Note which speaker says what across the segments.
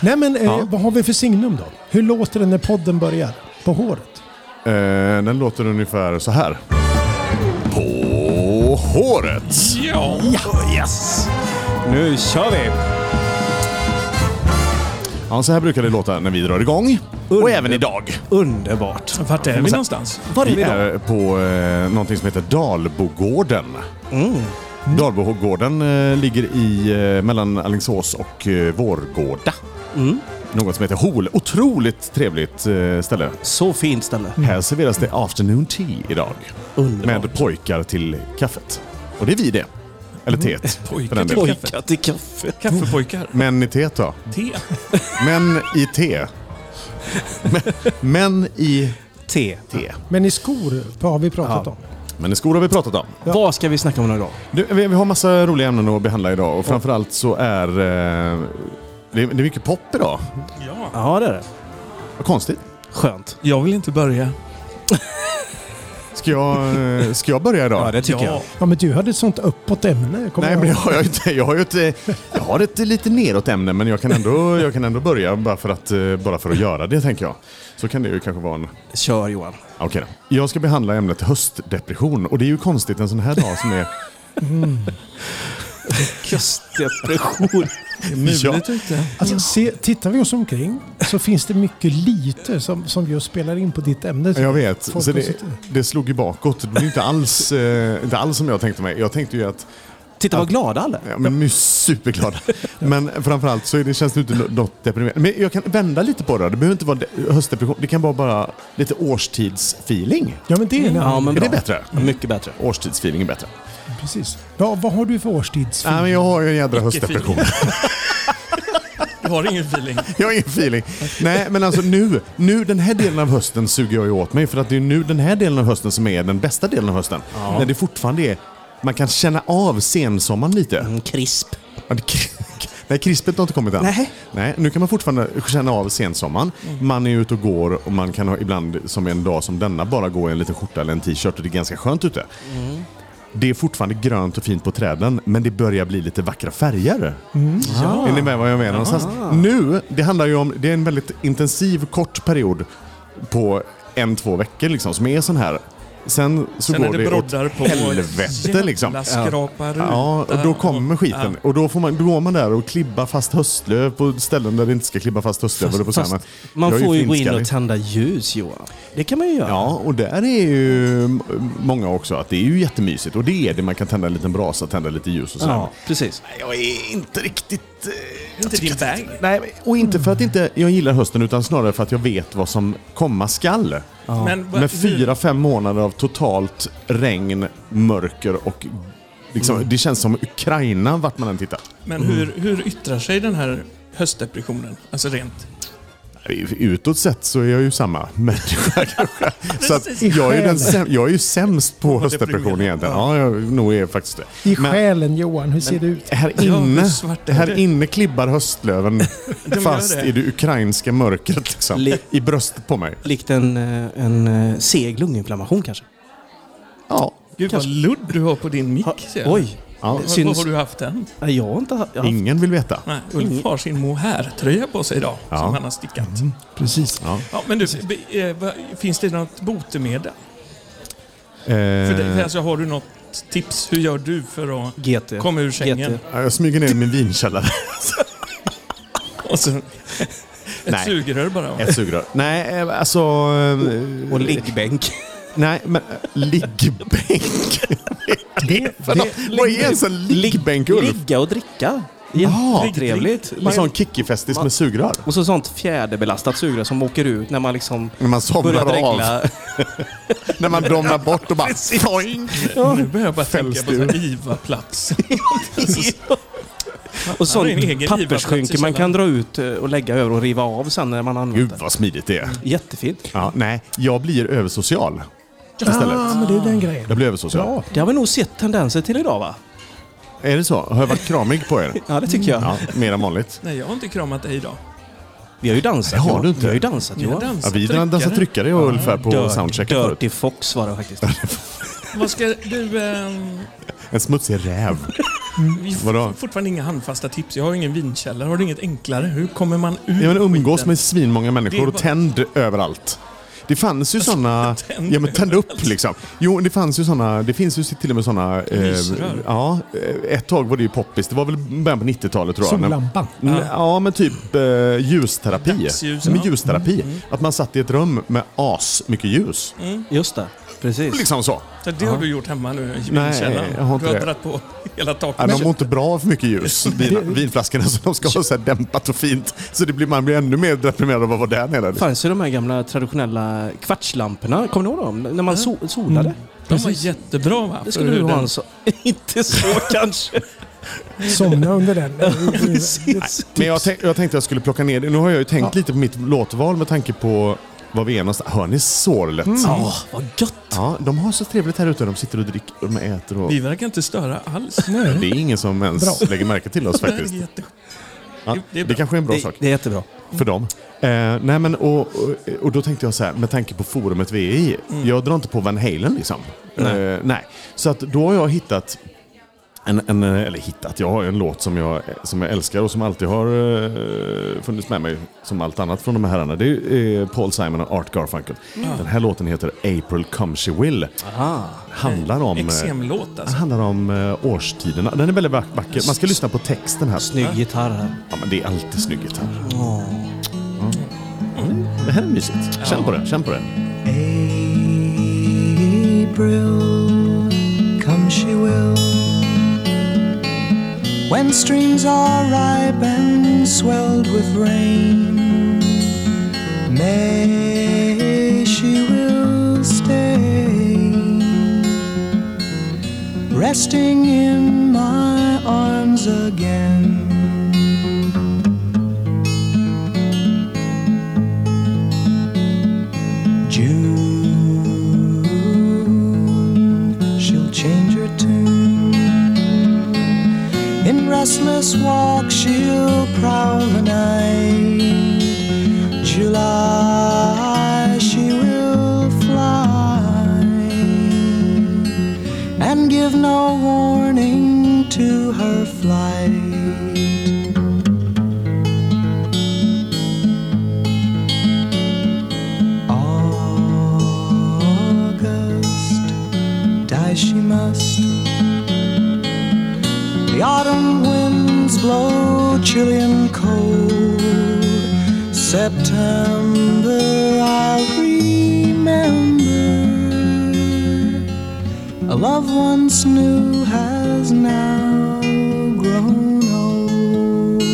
Speaker 1: Nej men eh,
Speaker 2: Ja.
Speaker 1: vad har vi för signum då? Hur låter det när podden börjar? På håret?
Speaker 3: Eh, den låter ungefär så här. På håret!
Speaker 2: Ja! Yes! Nu kör vi!
Speaker 3: Ja, så här brukar det låta när vi drar igång. Och även idag.
Speaker 2: Underbart.
Speaker 4: Vart är vi någonstans?
Speaker 2: Var är
Speaker 3: Vi
Speaker 2: vi då?
Speaker 3: är på eh, någonting som heter Dalbogården.
Speaker 2: Mm.
Speaker 3: Dalbogården eh, ligger i, eh, mellan Alingsås och eh, Vårgårda.
Speaker 2: Mm.
Speaker 3: Något som heter Hol. Otroligt trevligt eh, ställe.
Speaker 2: Så fint ställe.
Speaker 4: Mm.
Speaker 3: Här serveras det afternoon tea idag.
Speaker 2: Underbart.
Speaker 3: Med pojkar till kaffet. Och det är vi det. Eller teet. för den
Speaker 4: Mm. Pojkar till
Speaker 2: Pojkar
Speaker 3: delen.
Speaker 4: kaffe.
Speaker 2: till kaffe.
Speaker 4: Kaffepojkar.
Speaker 3: Män i teet då?
Speaker 4: Te.
Speaker 3: Män i te. Men- Män i
Speaker 2: Te.
Speaker 3: te.
Speaker 1: Men i skor har vi pratat om.
Speaker 3: Men i skor har vi pratat om.
Speaker 2: Vad ska vi snacka om några dagar?
Speaker 3: Du, vi, vi har massa roliga ämnen att behandla idag och framförallt så är eh, det, är- det är mycket pop idag.
Speaker 4: Ja.
Speaker 2: Ja, det är det.
Speaker 3: Vad konstigt.
Speaker 2: Skönt.
Speaker 4: Jag vill inte börja.
Speaker 3: Ska jag, eh, ska jag börja idag?
Speaker 4: ja.
Speaker 1: Ja men du hade ett sånt uppåt ämne. kommer
Speaker 3: Nej,
Speaker 1: jag
Speaker 3: men jag
Speaker 1: ihåg.
Speaker 3: har, ju inte, jag har ju ett, eh, jag har ett lite neråt ämne, men jag kan ändå, jag kan ändå börja bara för, att, eh, bara för att göra det, tänker jag. Så kan det ju kanske vara en...
Speaker 2: Kör Johan.
Speaker 3: Okej då. Jag ska behandla ämnet höstdepression och det är ju konstigt en sån här dag som är...
Speaker 2: Kustdepression.
Speaker 3: ja,
Speaker 4: Mulet ute.
Speaker 1: Alltså, se, tittar vi oss omkring så finns det mycket lite som, som just spelar in på ditt ämne.
Speaker 3: jag vet.
Speaker 1: Folk
Speaker 3: Så
Speaker 1: har
Speaker 3: det,
Speaker 1: suttit-
Speaker 3: det slog ju bakåt. Det blev inte alls, eh, inte alls som jag tänkte mig. Jag tänkte ju att
Speaker 2: Titta vad glada alla är.
Speaker 3: Ja, men nu är superglada. Men framförallt så är det, känns det inte något deprimerande. Men jag kan vända lite på det. Det behöver inte vara de- höstdepression. Det kan vara bara lite årstidsfeeling.
Speaker 1: Ja men det är en
Speaker 2: Ja,
Speaker 1: annan-
Speaker 2: men
Speaker 3: Är
Speaker 2: bra. Mm.
Speaker 3: det bättre?
Speaker 2: Mycket bättre.
Speaker 3: Årstidsfeeling är bättre.
Speaker 1: Precis. Ja, vad har du för årstidsfilm?
Speaker 3: Nej, men jag har ju en jädra höstdepression.
Speaker 4: Jag har ingen feeling.
Speaker 3: Jag har ingen feeling. Nej, men alltså nu, nu, den här delen av hösten suger jag ju åt mig. För att det är nu den här delen av hösten som är den bästa delen av hösten. När det fortfarande är... Man kan känna av sensommaren lite.
Speaker 2: Mm, krisp.
Speaker 3: Ja, det- Nej, krispet har inte kommit än.
Speaker 2: Nej.
Speaker 3: Nej, nu kan man fortfarande känna av sensommaren. Man är ute och går och man kan ha ibland, som en dag som denna, bara gå i en liten skjorta eller en t-shirt och det är ganska skönt ute. Det är fortfarande grönt och fint på träden, men det börjar bli lite vackra färger. Är ni med vad jag menar? någonstans? Nu, det handlar ju om, det är en väldigt intensiv, kort period på en, två veckor liksom, som är sån här. Sen så
Speaker 4: Sen
Speaker 3: går
Speaker 4: är det
Speaker 3: det åt
Speaker 4: broddar på.
Speaker 3: helvete liksom.
Speaker 4: Jävla skrapar
Speaker 3: Ja, och då kommer skiten. Och då, får man, då går man där och klibbar fast höstlöv på ställen där det inte ska klibba fast höstlöv. höll jag på att säga,
Speaker 2: Fast
Speaker 3: men
Speaker 2: man
Speaker 3: jag är
Speaker 2: får ju gå in
Speaker 3: finskallig.
Speaker 2: och tända ljus Johan. Det kan man ju göra.
Speaker 3: Ja, och där är ju m- många också att det är ju jättemysigt. Och det är det, man kan tända en liten brasa, tända lite ljus och sådär.
Speaker 2: Ja, precis.
Speaker 3: Jag är inte riktigt... eh, jag
Speaker 4: Inte
Speaker 3: tycker
Speaker 4: din
Speaker 3: att-
Speaker 4: bag.
Speaker 3: Nej, men- och inte för att inte jag gillar hösten utan snarare för att jag vet vad som komma skall.
Speaker 4: Men,
Speaker 3: Med fyra, fem månader av totalt regn, mörker och liksom,
Speaker 4: Mm.
Speaker 3: det känns som Ukraina vart man än tittar.
Speaker 4: Men hur, hur yttrar sig den här höstdepressionen? Alltså rent.
Speaker 3: Utåt sett så är jag ju samma människa kanske. Så att jag, är den säm- jag är ju sämst på höstdepression egentligen. Ja, jag nog är faktiskt det.
Speaker 1: I
Speaker 3: Men
Speaker 1: själen Johan, hur ser det ut?
Speaker 3: här
Speaker 4: Ja, hur
Speaker 3: inne,
Speaker 4: svart är
Speaker 3: här
Speaker 4: det?
Speaker 3: inne klibbar höstlöven fast
Speaker 4: det.
Speaker 3: i det ukrainska mörkret. Liksom,
Speaker 2: Li-
Speaker 3: I bröstet på mig.
Speaker 2: Likt en, eh, en eh, seg lunginflammation kanske.
Speaker 3: Ja,
Speaker 4: Gud vad
Speaker 2: Kanske.
Speaker 4: ludd du har på din mick.
Speaker 2: Ha,
Speaker 4: ser jag.
Speaker 2: oj. Det
Speaker 3: ja.
Speaker 4: Vad- Vad
Speaker 2: syns.
Speaker 4: har du haft den?
Speaker 2: Nej, Jag har inte haft... jag har haft-
Speaker 3: Ingen vill veta.
Speaker 4: Nej, Ulf har sin mohair-tröja på sig idag
Speaker 3: Ja. Mm.
Speaker 4: som han har stickat.
Speaker 1: Precis.
Speaker 4: Ja, men du, be- eh, vad- finns det något botemedel? För det, för
Speaker 3: Eh,
Speaker 4: alltså, har du något tips? Hur gör du för att
Speaker 2: GT.
Speaker 4: komma ur sängen?
Speaker 2: GT.
Speaker 3: Eh, jag smyger ner i min vinkällare.
Speaker 4: Och så, ett
Speaker 3: Nej.
Speaker 4: sugrör bara?
Speaker 3: Ett sugrör. Nej, eh, alltså... eh,
Speaker 2: Och liggbänk.
Speaker 3: Nej, men eh, liggbänk.
Speaker 1: Det,
Speaker 3: Vadå?
Speaker 1: det,
Speaker 3: Vad är ens en liggbänk, Ulf?
Speaker 2: Ligga och dricka.
Speaker 3: Ja.
Speaker 2: Jättetrevligt.
Speaker 3: En sån kickifestis med sugrör.
Speaker 2: Och så sånt fjäderbelastat sugrör som åker ut när man liksom
Speaker 3: När man somnar
Speaker 2: börjar
Speaker 3: av.
Speaker 2: dregla.
Speaker 3: När man domnar bort och bara... Poing!
Speaker 4: Nu börjar jag bara
Speaker 3: Fälls
Speaker 4: tänka på
Speaker 3: du?
Speaker 4: sån här IVA-plats.
Speaker 2: och
Speaker 4: Ja, det är en
Speaker 2: sånt
Speaker 4: egen
Speaker 2: pappersskynke
Speaker 4: IVA-plats i
Speaker 2: man kan dra ut eh, och lägga över och riva av sen när man använder
Speaker 3: Gud
Speaker 2: det.
Speaker 3: vad smidigt det är.
Speaker 2: Jättefint.
Speaker 3: Ja, nej, jag blir översocial
Speaker 1: ah,
Speaker 3: istället.
Speaker 1: men det är den grejen.
Speaker 3: Jag blir översocial.
Speaker 1: Bra.
Speaker 2: Det har vi nog sett tendenser till idag va?
Speaker 3: Är det så? Har jag varit kramig på er?
Speaker 2: Ja, det tycker jag.
Speaker 3: Mm. Ja, mer än vanligt.
Speaker 4: Nej, jag har inte kramat dig idag.
Speaker 2: Vi har ju dansat.
Speaker 3: Det har
Speaker 2: Johan.
Speaker 3: du inte.
Speaker 2: Vi har ju dansat
Speaker 4: Ni har
Speaker 2: Johan.
Speaker 3: Ja,
Speaker 4: dansat
Speaker 3: vi
Speaker 4: tryckare.
Speaker 3: dansade tryckare och ungefär på soundchecken förut.
Speaker 2: Dirty Fox var det faktiskt.
Speaker 4: Vad ska du... ehm,
Speaker 3: En smutsig räv.
Speaker 4: Vi får
Speaker 3: Vadå?
Speaker 4: fortfarande inga handfasta tips. Jag har ingen vinkällare. Har du inget enklare? Hur kommer man ur
Speaker 3: Ja, men umgås
Speaker 4: skiten?
Speaker 3: med svinmånga
Speaker 4: Det är
Speaker 3: människor och
Speaker 4: bara- Alltså,
Speaker 3: tänd överallt. Det fanns ju sådana...
Speaker 4: tänd
Speaker 3: Ja men tänd upp liksom. Jo, det fanns ju sådana... Det finns ju till och med sådana...
Speaker 4: Lysrör.
Speaker 3: ja, eh, ett tag var det ju poppis. Det var väl början på 90-talet tror jag. när-
Speaker 1: Sollampan.
Speaker 3: N- Ja, men typ eh, ljusterapi.
Speaker 4: Dagsljus,
Speaker 3: Men
Speaker 4: ja. Mm,
Speaker 3: ljusterapi. Att man satt i ett rum med as mycket ljus.
Speaker 5: Just det, precis.
Speaker 3: Liksom så.
Speaker 4: Så det har du gjort hemma nu i
Speaker 3: Nej,
Speaker 4: vinkällaren.
Speaker 3: jag har inte
Speaker 4: du har
Speaker 3: det.
Speaker 4: dragit på hela
Speaker 3: Ja,
Speaker 4: taket.
Speaker 3: de mår inte bra av för mycket ljus, vin, vinflaskorna, så de ska ha så här dämpat och fint. Så det blir, man blir ännu mer deprimerad av att vara där nere.
Speaker 5: fanns ju de här gamla traditionella kvartslamporna. Kommer ni ihåg dem? När man so- solade.
Speaker 4: de var jättebra va?
Speaker 5: Det
Speaker 4: För
Speaker 5: skulle
Speaker 4: hur
Speaker 5: du ha
Speaker 4: den-
Speaker 5: en så. Inte så kanske.
Speaker 1: Somna under den.
Speaker 5: precis.
Speaker 3: Men jag, tänk, jag tänkte jag skulle plocka ner det. Nu har jag ju tänkt
Speaker 5: Ja.
Speaker 3: lite på mitt låtval med tanke på var vi är någonstans. Hör ni sorlet?
Speaker 4: Mm.
Speaker 5: Åh, vad gött.
Speaker 3: Ja, de har så trevligt här ute. De sitter och dricker och de äter och...
Speaker 4: Vi verkar inte störa alls.
Speaker 3: Det är ingen som ens
Speaker 1: Bra.
Speaker 3: lägger märke till oss
Speaker 4: Det här är
Speaker 3: faktiskt.
Speaker 4: jätte-
Speaker 3: Ja,
Speaker 4: Det- det
Speaker 3: det,
Speaker 4: är bra.
Speaker 3: kanske är en bra
Speaker 5: Det,
Speaker 3: sak
Speaker 5: det är jättebra.
Speaker 3: för dem. Eh, nej men, och, och, och då tänkte jag så här, med tanke på forumet vi är i. Jag drar inte på Van Halen liksom. Nej. Eh, nej. Så att då har jag hittat en, en, eh, eller hittat, jag har ju en låt som jag, som jag älskar och som alltid har eh, funnits med mig som allt annat från de här herrarna. Det är ju, eh, Paul Simon och Art Garfunkel. Den här låten heter April Come She Will. Handlar om... eh,
Speaker 4: Eksemlåt
Speaker 3: det
Speaker 4: alltså.
Speaker 3: handlar om eh, årstiderna. Den är väldigt vack- vacker. Man ska lyssna på texten här.
Speaker 5: Snygg gitarr här.
Speaker 3: Ja, men det är alltid snygg gitarr. Mm. Det här är mysigt. Känn på det. Känn på det.
Speaker 6: April, come she will. When streams are ripe and swelled with rain, May she will stay, resting in my arms again. June, she'll change her tune. In restless walk, she'll prowl the night. July, she will fly and give no warning to her flight. August, die she must. The autumn winds blow chilly and cold. September, I'll remember a love once new has now grown old.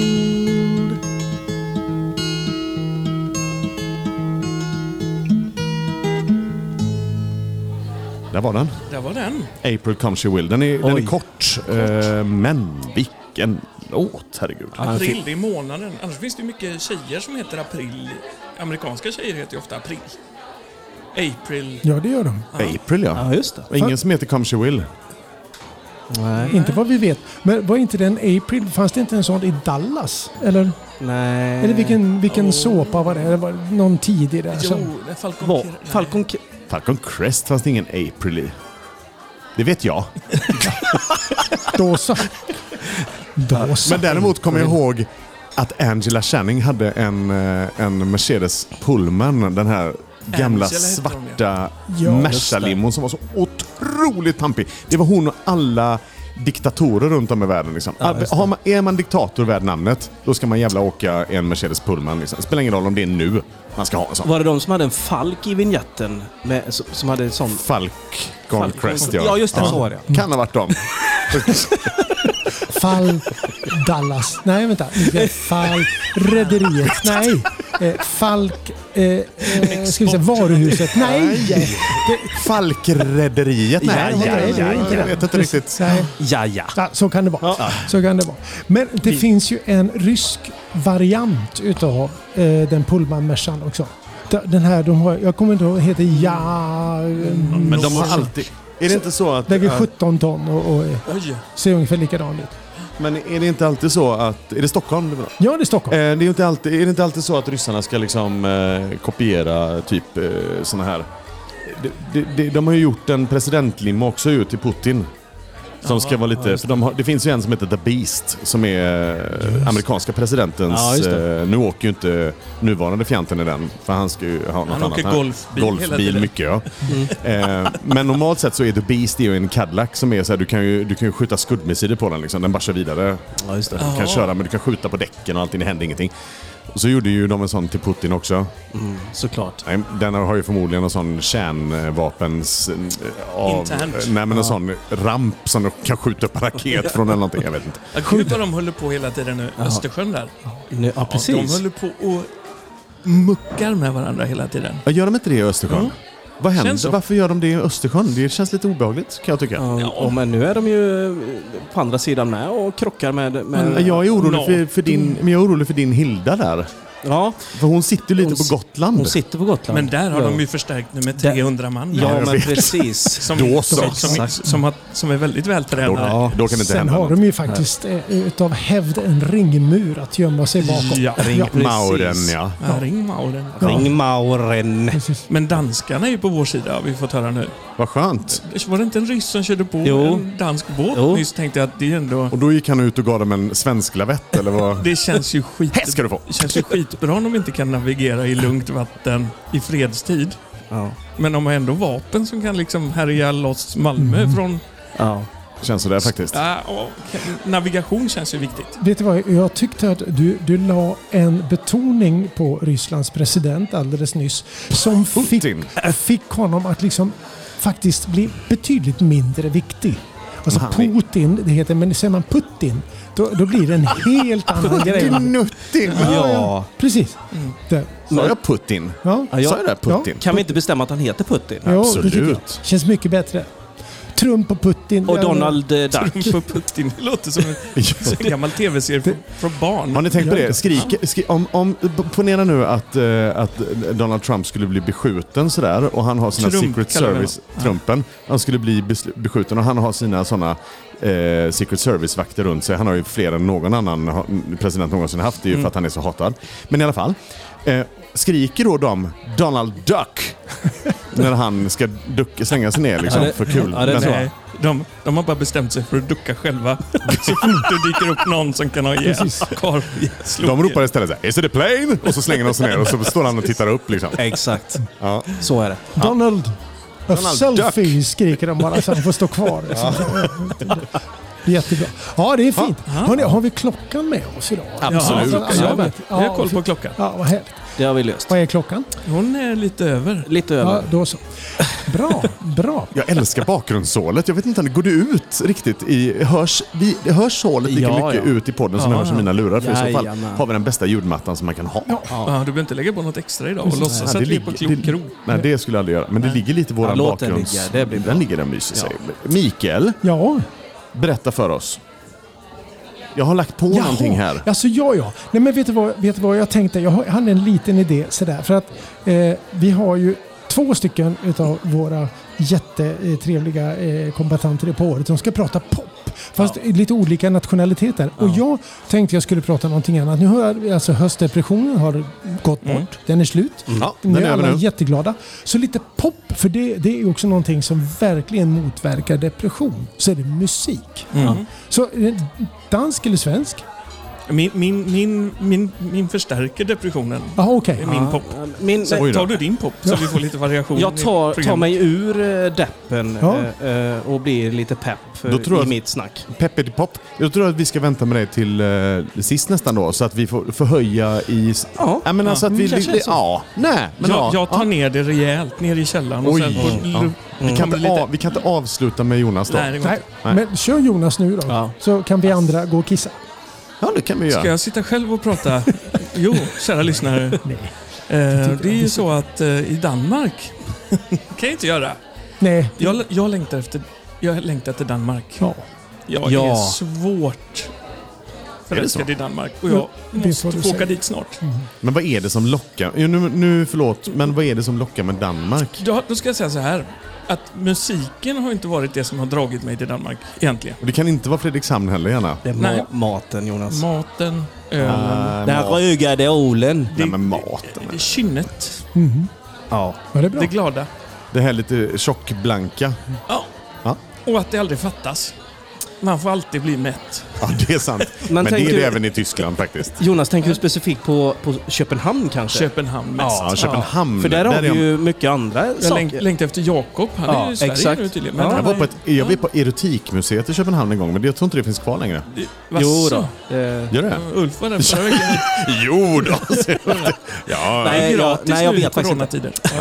Speaker 3: Där var den.
Speaker 4: Där var den.
Speaker 3: April Comes She Will. Den är, den är
Speaker 5: Oj.
Speaker 3: kort. Eh, men vilken låt, herregud.
Speaker 4: April, det är månaden. Annars finns det ju mycket tjejer som heter april. Amerikanska tjejer heter ju ofta april. April.
Speaker 1: Ja, det gör de.
Speaker 3: April, ja.
Speaker 5: Ja, just det.
Speaker 3: Och Ingen som heter Come She Will.
Speaker 5: Nej.
Speaker 1: Inte vad vi vet. Men var inte den April? Fanns det inte en sån i Dallas? Eller,
Speaker 5: Nej.
Speaker 1: eller vilken, vilken såpa var det? Eller var det någon tidig där? Som,
Speaker 4: Jo, det är Falcon.
Speaker 5: Vad?
Speaker 4: Crest. Nej.
Speaker 5: Falcon... K-
Speaker 3: Falcon Crest fanns det ingen April i. Det vet jag.
Speaker 1: då så. Då så.
Speaker 3: Men däremot kommer jag ihåg att Angela Channing hade en, eh, en Mercedes Pullman. Den här gamla
Speaker 4: Angela hette hon,
Speaker 3: svarta
Speaker 1: Ja,
Speaker 3: Merca-limon som var så otroligt pampig. Det var hon och alla diktatorer runt om i världen. Liksom. Har man, är man diktator värd namnet, då ska man jävla åka en Mercedes Pullman. Liksom. Spelar ingen roll om det är nu man ska ha en sån.
Speaker 5: Var det de som hade en falk i vignetten? Med, som, som hade en sån...
Speaker 3: Falk
Speaker 5: Falcon-
Speaker 3: Crest, ja.
Speaker 5: Ja, just det, så var det.
Speaker 3: Kan ha varit dem.
Speaker 1: Fall Dallas. Nej, vänta. Inte Fall Rederiet. Nej. Eh, Falk... Eh, eh, ska vi säga varuhuset? Nej!
Speaker 3: Falkrederiet? Nej,
Speaker 5: Ja, ja,
Speaker 3: nej,
Speaker 1: det är
Speaker 3: nej,
Speaker 1: inte
Speaker 3: jag
Speaker 1: det.
Speaker 3: vet inte riktigt.
Speaker 1: Nej.
Speaker 5: Ja, ja.
Speaker 1: Ja, så kan det vara. Så kan det vara. Men det finns ju en rysk variant utav eh, den Pullman-Mercan också. D- Den här, de har, jag kommer inte ihåg, heter Ja...
Speaker 3: Men de har alltid... Är det inte så att...
Speaker 1: Väger
Speaker 3: att-
Speaker 1: 17 ton och, och eh,
Speaker 4: Oj,
Speaker 1: ser ungefär likadan ut.
Speaker 3: Men är det inte alltid så att... Är det Stockholm? Eh,
Speaker 1: Ja, det är
Speaker 3: det
Speaker 1: Stockholm.
Speaker 3: är, ju inte alltid, är det inte alltid så att ryssarna ska liksom eh, kopiera typ eh, såna här... De, de, de har ju gjort en presidentlimma också ju till Putin. Som ska vara lite, för de har, det finns ju en som heter The Beast som är eh, amerikanska presidentens...
Speaker 5: Ja, just det.
Speaker 3: eh, nu åker ju inte nuvarande fjanten i den, för han ska ju ha något
Speaker 4: Han
Speaker 3: annat.
Speaker 4: åker golfbil hela
Speaker 3: golfbil
Speaker 4: tiden. Mm.
Speaker 3: mycket ja. Eh, men normalt sett så är The Beast det är ju en Cadillac som är så här, du kan ju, du kan ju skjuta skuddmissiler på den liksom. Den bara kör vidare.
Speaker 5: Ja, just det.
Speaker 3: Du Typ. kan köra men du kan skjuta på däcken och allting, det händer ingenting. Och så gjorde ju de en sån till Putin också.
Speaker 5: Såklart.
Speaker 3: Nej, den har ju förmodligen någon sån kärnvapens... eh, Av,
Speaker 4: Internt.
Speaker 3: Nej, men en sån ramp som de kan skjuta upp en raket från eller någonting. Jag vet inte.
Speaker 4: Ja, gud vad de håller på hela tiden nu. Östersjön där.
Speaker 5: Nu, ja,
Speaker 4: Ja, de
Speaker 5: precis.
Speaker 4: håller på och muckar med varandra hela tiden.
Speaker 3: Ja, Gör de inte det i Östersjön?
Speaker 5: Mm.
Speaker 3: Vad
Speaker 4: Känns
Speaker 3: händer?
Speaker 4: så.
Speaker 3: Varför gör de det i Östersjön? Det känns lite obehagligt kan jag tycka.
Speaker 5: Ja, och men nu är de ju eh, på andra sidan med och krockar med... med
Speaker 3: Men jag är orolig
Speaker 4: No.
Speaker 3: för, för din,
Speaker 5: Mm.
Speaker 3: men jag är orolig för din Hilda där.
Speaker 5: ja,
Speaker 3: För hon sitter ju lite
Speaker 5: Hon
Speaker 3: på
Speaker 5: si-
Speaker 3: Gotland.
Speaker 5: hon sitter på Gotland.
Speaker 4: Men där har
Speaker 5: ja.
Speaker 4: de ju förstärkt nu med
Speaker 5: Där-
Speaker 4: 300 man.
Speaker 5: Ja,
Speaker 3: jag
Speaker 5: men
Speaker 3: vet.
Speaker 5: precis.
Speaker 4: Som,
Speaker 3: Då
Speaker 4: som,
Speaker 3: så.
Speaker 4: som, som, har, som är väldigt
Speaker 3: då,
Speaker 4: vältränade.
Speaker 3: då kan det inte
Speaker 1: Sen
Speaker 3: hända
Speaker 1: har
Speaker 3: något.
Speaker 1: de ju faktiskt eh, utav hävd en ringmur att gömma sig bakom.
Speaker 4: Ja, ring-
Speaker 1: Ja,
Speaker 5: precis.
Speaker 3: Mauren ja.
Speaker 4: Ja, ring Mauren.
Speaker 5: Ring Mauren.
Speaker 1: precis.
Speaker 4: Men danskarna är ju på vår sida har vi fått höra nu.
Speaker 3: Vad skönt.
Speaker 4: Var det inte en ryss som körde på
Speaker 5: Jo.
Speaker 4: en dansk båt
Speaker 5: Jo.
Speaker 4: nyss? Tänkte jag att det är ändå...
Speaker 3: Och då gick han ut och gav dem en svensk lavett eller vad?
Speaker 4: Det känns ju skit...
Speaker 3: Här ska du få!
Speaker 4: Det känns ju skitbra om de inte kan navigera i lugnt vatten i fredstid.
Speaker 5: Ja.
Speaker 4: Men de har ändå vapen som kan liksom härja loss Malmö
Speaker 5: Mm.
Speaker 4: från...
Speaker 5: Ja.
Speaker 3: Känns sådär faktiskt.
Speaker 4: Ja, och kan- Ah, navigation känns ju viktigt.
Speaker 1: Vet du vad, jag tyckte att du, du la en betoning på Rysslands president alldeles nyss. Som fick,
Speaker 3: Putin.
Speaker 1: fick honom att liksom faktiskt bli betydligt mindre viktig. Alltså
Speaker 3: Han är-
Speaker 1: Putin, det heter, men säger man Putin, då, då blir det en helt annan grej.
Speaker 3: Puttinutti!
Speaker 5: Ja.
Speaker 1: Precis.
Speaker 3: Mm.
Speaker 1: Där.
Speaker 3: Sa jag Putin?
Speaker 1: Ja.
Speaker 5: Ja, jag-
Speaker 3: Sa jag det? Putin?
Speaker 5: Kan vi inte bestämma att han heter Putin?
Speaker 1: Ja,
Speaker 3: absolut.
Speaker 1: Det tycker jag. Känns mycket bättre. Trump och Putin.
Speaker 5: Och
Speaker 1: Ja,
Speaker 5: Donald eh, Duck.
Speaker 4: På Putin. Det låter som en, som en gammal tv-serie för, för
Speaker 3: Har
Speaker 4: barn.
Speaker 3: ni tänkt på det? Skrik, skri, om, om, ponera nu att, eh, att Donald Trump skulle bli beskjuten sådär och han har sina
Speaker 4: Trump
Speaker 3: Secret
Speaker 4: kallar vi
Speaker 3: Service... Trumpen. Han skulle bli besl- beskjuten och han har sina sådana eh, Secret Service-vakter runt sig. Han har ju fler än någon annan ha- president någonsin haft. Det är ju för att han är så hatad. Men i alla fall. Eh, skriker då de Donald Duck när han ska duck, slänga sig ner liksom,
Speaker 5: Ja, det-
Speaker 3: för kul.
Speaker 5: ja, det
Speaker 3: Men-
Speaker 5: tror jag.
Speaker 4: Nej, Eh, de, de har bara bestämt sig för att ducka själva. Så fort det dyker upp någon som kan ha ihjäl karl. slog
Speaker 3: De ropar istället såhär “Is it a plane?” och så slänger de sig ner och så står han och tittar upp liksom.
Speaker 5: Exakt.
Speaker 3: Ja.
Speaker 5: Så är det.
Speaker 1: Donald. A
Speaker 3: Donald
Speaker 1: selfie skriker de bara så han får stå kvar. Liksom. Det är Jättebra. Ja, det är fint. Hörrni, har vi klockan med oss idag?
Speaker 3: Absolut.
Speaker 4: Ja,
Speaker 1: Ja,
Speaker 4: jag
Speaker 1: men-
Speaker 4: vet. Vi har koll på klockan.
Speaker 1: Ja, vad härligt.
Speaker 5: Det har vi löst.
Speaker 1: Vad är klockan?
Speaker 4: Hon är lite över.
Speaker 5: Lite
Speaker 1: Ja,
Speaker 5: över.
Speaker 1: då så. Bra, bra.
Speaker 3: Jag älskar bakgrundssålet. Jag vet inte, går det ut riktigt? I, hörs, vi, hörs sålet lika
Speaker 5: Ja,
Speaker 3: mycket
Speaker 5: ja.
Speaker 3: ut i podden som det hörs i mina lurar? För i så fall
Speaker 5: Jajamän.
Speaker 3: har vi den bästa ljudmattan som man kan ha.
Speaker 4: Ja. du behöver inte lägga på något extra idag och låtsas
Speaker 3: Nej,
Speaker 4: att vi är
Speaker 3: ligger-
Speaker 4: på klokkrok.
Speaker 3: nej, det skulle jag aldrig göra. Men det ligger lite i
Speaker 5: Ja,
Speaker 3: våran
Speaker 5: låt den
Speaker 3: bakgrunds...
Speaker 5: ligga. Det blir bra.
Speaker 3: den ligger där och myser sig. Mikael,
Speaker 1: Ja.
Speaker 3: berätta för oss. Jag har lagt på någonting här.
Speaker 1: Alltså ja, ja. Nej, men vet du vad, vet du vad jag tänkte? Jag har- jag hade en liten idé sådär. För att eh, vi har ju två stycken utav våra jättetrevliga eh, kombatanter på året som ska prata pop. Fast i lite olika nationaliteter. Och jag tänkte jag skulle prata någonting annat. Nu har jag, alltså höstdepressionen har gått
Speaker 3: Mm.
Speaker 1: bort. Den är slut.
Speaker 3: Ja,
Speaker 1: Nu
Speaker 3: den
Speaker 1: är
Speaker 3: är över
Speaker 1: alla
Speaker 3: nu.
Speaker 1: Mm. jätteglada. Så lite pop, för det, det är ju också någonting som verkligen motverkar depression. Så är det musik. Så eh, dansk eller svensk?
Speaker 4: Min, min, min, min, min förstärker depressionen.
Speaker 1: Jaha, okej.
Speaker 4: Är min pop.
Speaker 5: Min,
Speaker 4: Så
Speaker 3: Ah. Oj då.
Speaker 4: tar du din pop så vi får lite variation
Speaker 5: jag
Speaker 4: i
Speaker 5: tar, tar
Speaker 4: programmet.
Speaker 5: mig ur eh, deppen
Speaker 1: Ja.
Speaker 5: eh, eh, och blir lite pepp eh,
Speaker 3: Då tror
Speaker 5: i
Speaker 3: jag-
Speaker 5: mitt snack.
Speaker 3: Peppe di Pop. Jag tror att vi ska vänta med dig till eh, sist nästan då, så att vi får förhöja i...
Speaker 5: Ja.
Speaker 3: Nej, men alltså att
Speaker 5: Mm,
Speaker 3: vi...
Speaker 5: kanske är så.
Speaker 3: Ja, nej. Men ja,
Speaker 4: jag, jag tar ner det rejält ner i källaren och
Speaker 3: Oj.
Speaker 4: sen får
Speaker 5: Mm.
Speaker 3: Ja. Vi, kan
Speaker 4: kommer
Speaker 3: inte
Speaker 4: lite-
Speaker 3: av, vi kan inte avsluta med Jonas då.
Speaker 4: Nej, det går
Speaker 1: Nej,
Speaker 4: inte.
Speaker 3: Nej.
Speaker 1: men kör Jonas nu då.
Speaker 5: Ja.
Speaker 1: Så kan vi andra gå och kissa.
Speaker 3: Ja, det kan vi göra.
Speaker 4: Ska jag sitta själv och prata? Jo, kära lyssnare. Eh, det är ju så att eh, i Danmark kan jag inte göra.
Speaker 1: Nej.
Speaker 4: Jag, jag längtar efter jag längtar efter Danmark.
Speaker 1: Ja.
Speaker 4: Jag
Speaker 5: Ja.
Speaker 4: är svårt förälskad i Danmark och jag
Speaker 1: det får
Speaker 4: måste
Speaker 1: du Mm.
Speaker 4: få åka
Speaker 1: säga.
Speaker 4: dit snart.
Speaker 3: Men vad är det som lockar? Jo, Nu, nu, förlåt, men vad är det som lockar med Danmark?
Speaker 4: Då, då ska jag säga så här. Att musiken har inte varit det som har dragit mig till Danmark egentligen.
Speaker 3: Och det kan inte vara Fredrikshamn heller gärna.
Speaker 5: Det är
Speaker 4: Nej.
Speaker 5: ma- maten Jonas.
Speaker 4: Maten, ölen,
Speaker 3: Äh,
Speaker 5: Den
Speaker 3: mat.
Speaker 5: rögade ålen.
Speaker 3: Nej, men maten.
Speaker 4: kynnet,
Speaker 5: Ja.
Speaker 1: Var det bra?
Speaker 4: det glada.
Speaker 3: Det här lite tjockblanka.
Speaker 4: Ja.
Speaker 3: Ja.
Speaker 4: Och att det aldrig fattas. Man får alltid bli mätt.
Speaker 3: Ja, det är sant.
Speaker 5: Men
Speaker 3: Men, det
Speaker 5: tänker
Speaker 3: är
Speaker 5: du-
Speaker 3: det även i Tyskland faktiskt.
Speaker 5: Jonas, tänker du specifikt på, på Köpenhamn kanske?
Speaker 4: Köpenhamn mest.
Speaker 3: Ja, Köpenhamn.
Speaker 5: För där har vi
Speaker 3: är
Speaker 5: ju mycket andra
Speaker 4: Jag
Speaker 5: saker.
Speaker 4: längt, längtar efter Jakob. Han
Speaker 5: Ja,
Speaker 4: är ju i Sverige
Speaker 5: exakt.
Speaker 4: nu tydligen.
Speaker 5: Ja.
Speaker 3: Jag
Speaker 4: han
Speaker 3: var
Speaker 4: är-
Speaker 3: på, ett, jag var på Erotikmuseet i Köpenhamn en gång, men jag tror inte det finns kvar längre.
Speaker 5: Jo då.
Speaker 4: Vasså?
Speaker 5: Eh,
Speaker 3: Gör det?
Speaker 4: Ulf var där förra veckan.
Speaker 3: Jo då! säger jag. Ja,
Speaker 5: Nej,
Speaker 4: Nej,
Speaker 5: jag,
Speaker 4: gratis
Speaker 5: nej, jag
Speaker 4: nu i
Speaker 5: vet faktiskt inte.
Speaker 4: coronatider. Ja.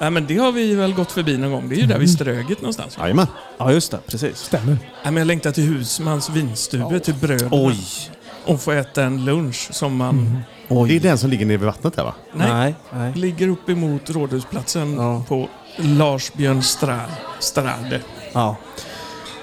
Speaker 4: Nej, men det har vi väl gått förbi någon gång. Det är ju där vid Ströget någonstans. Nej,
Speaker 3: jajamän.
Speaker 5: Ja, just det. Precis.
Speaker 1: Stämmer.
Speaker 4: men jag längtar till Husmans vinstube, till bröd
Speaker 5: Oj.
Speaker 4: och få äta en lunch som man
Speaker 5: Oj.
Speaker 3: Det är den som ligger nere vid vattnet där va?
Speaker 4: Nej.
Speaker 5: Nej. nej.
Speaker 4: ligger upp emot Rådhusplatsen
Speaker 5: Ja.
Speaker 4: på Lars Björn Stra- Strade.
Speaker 5: Ja.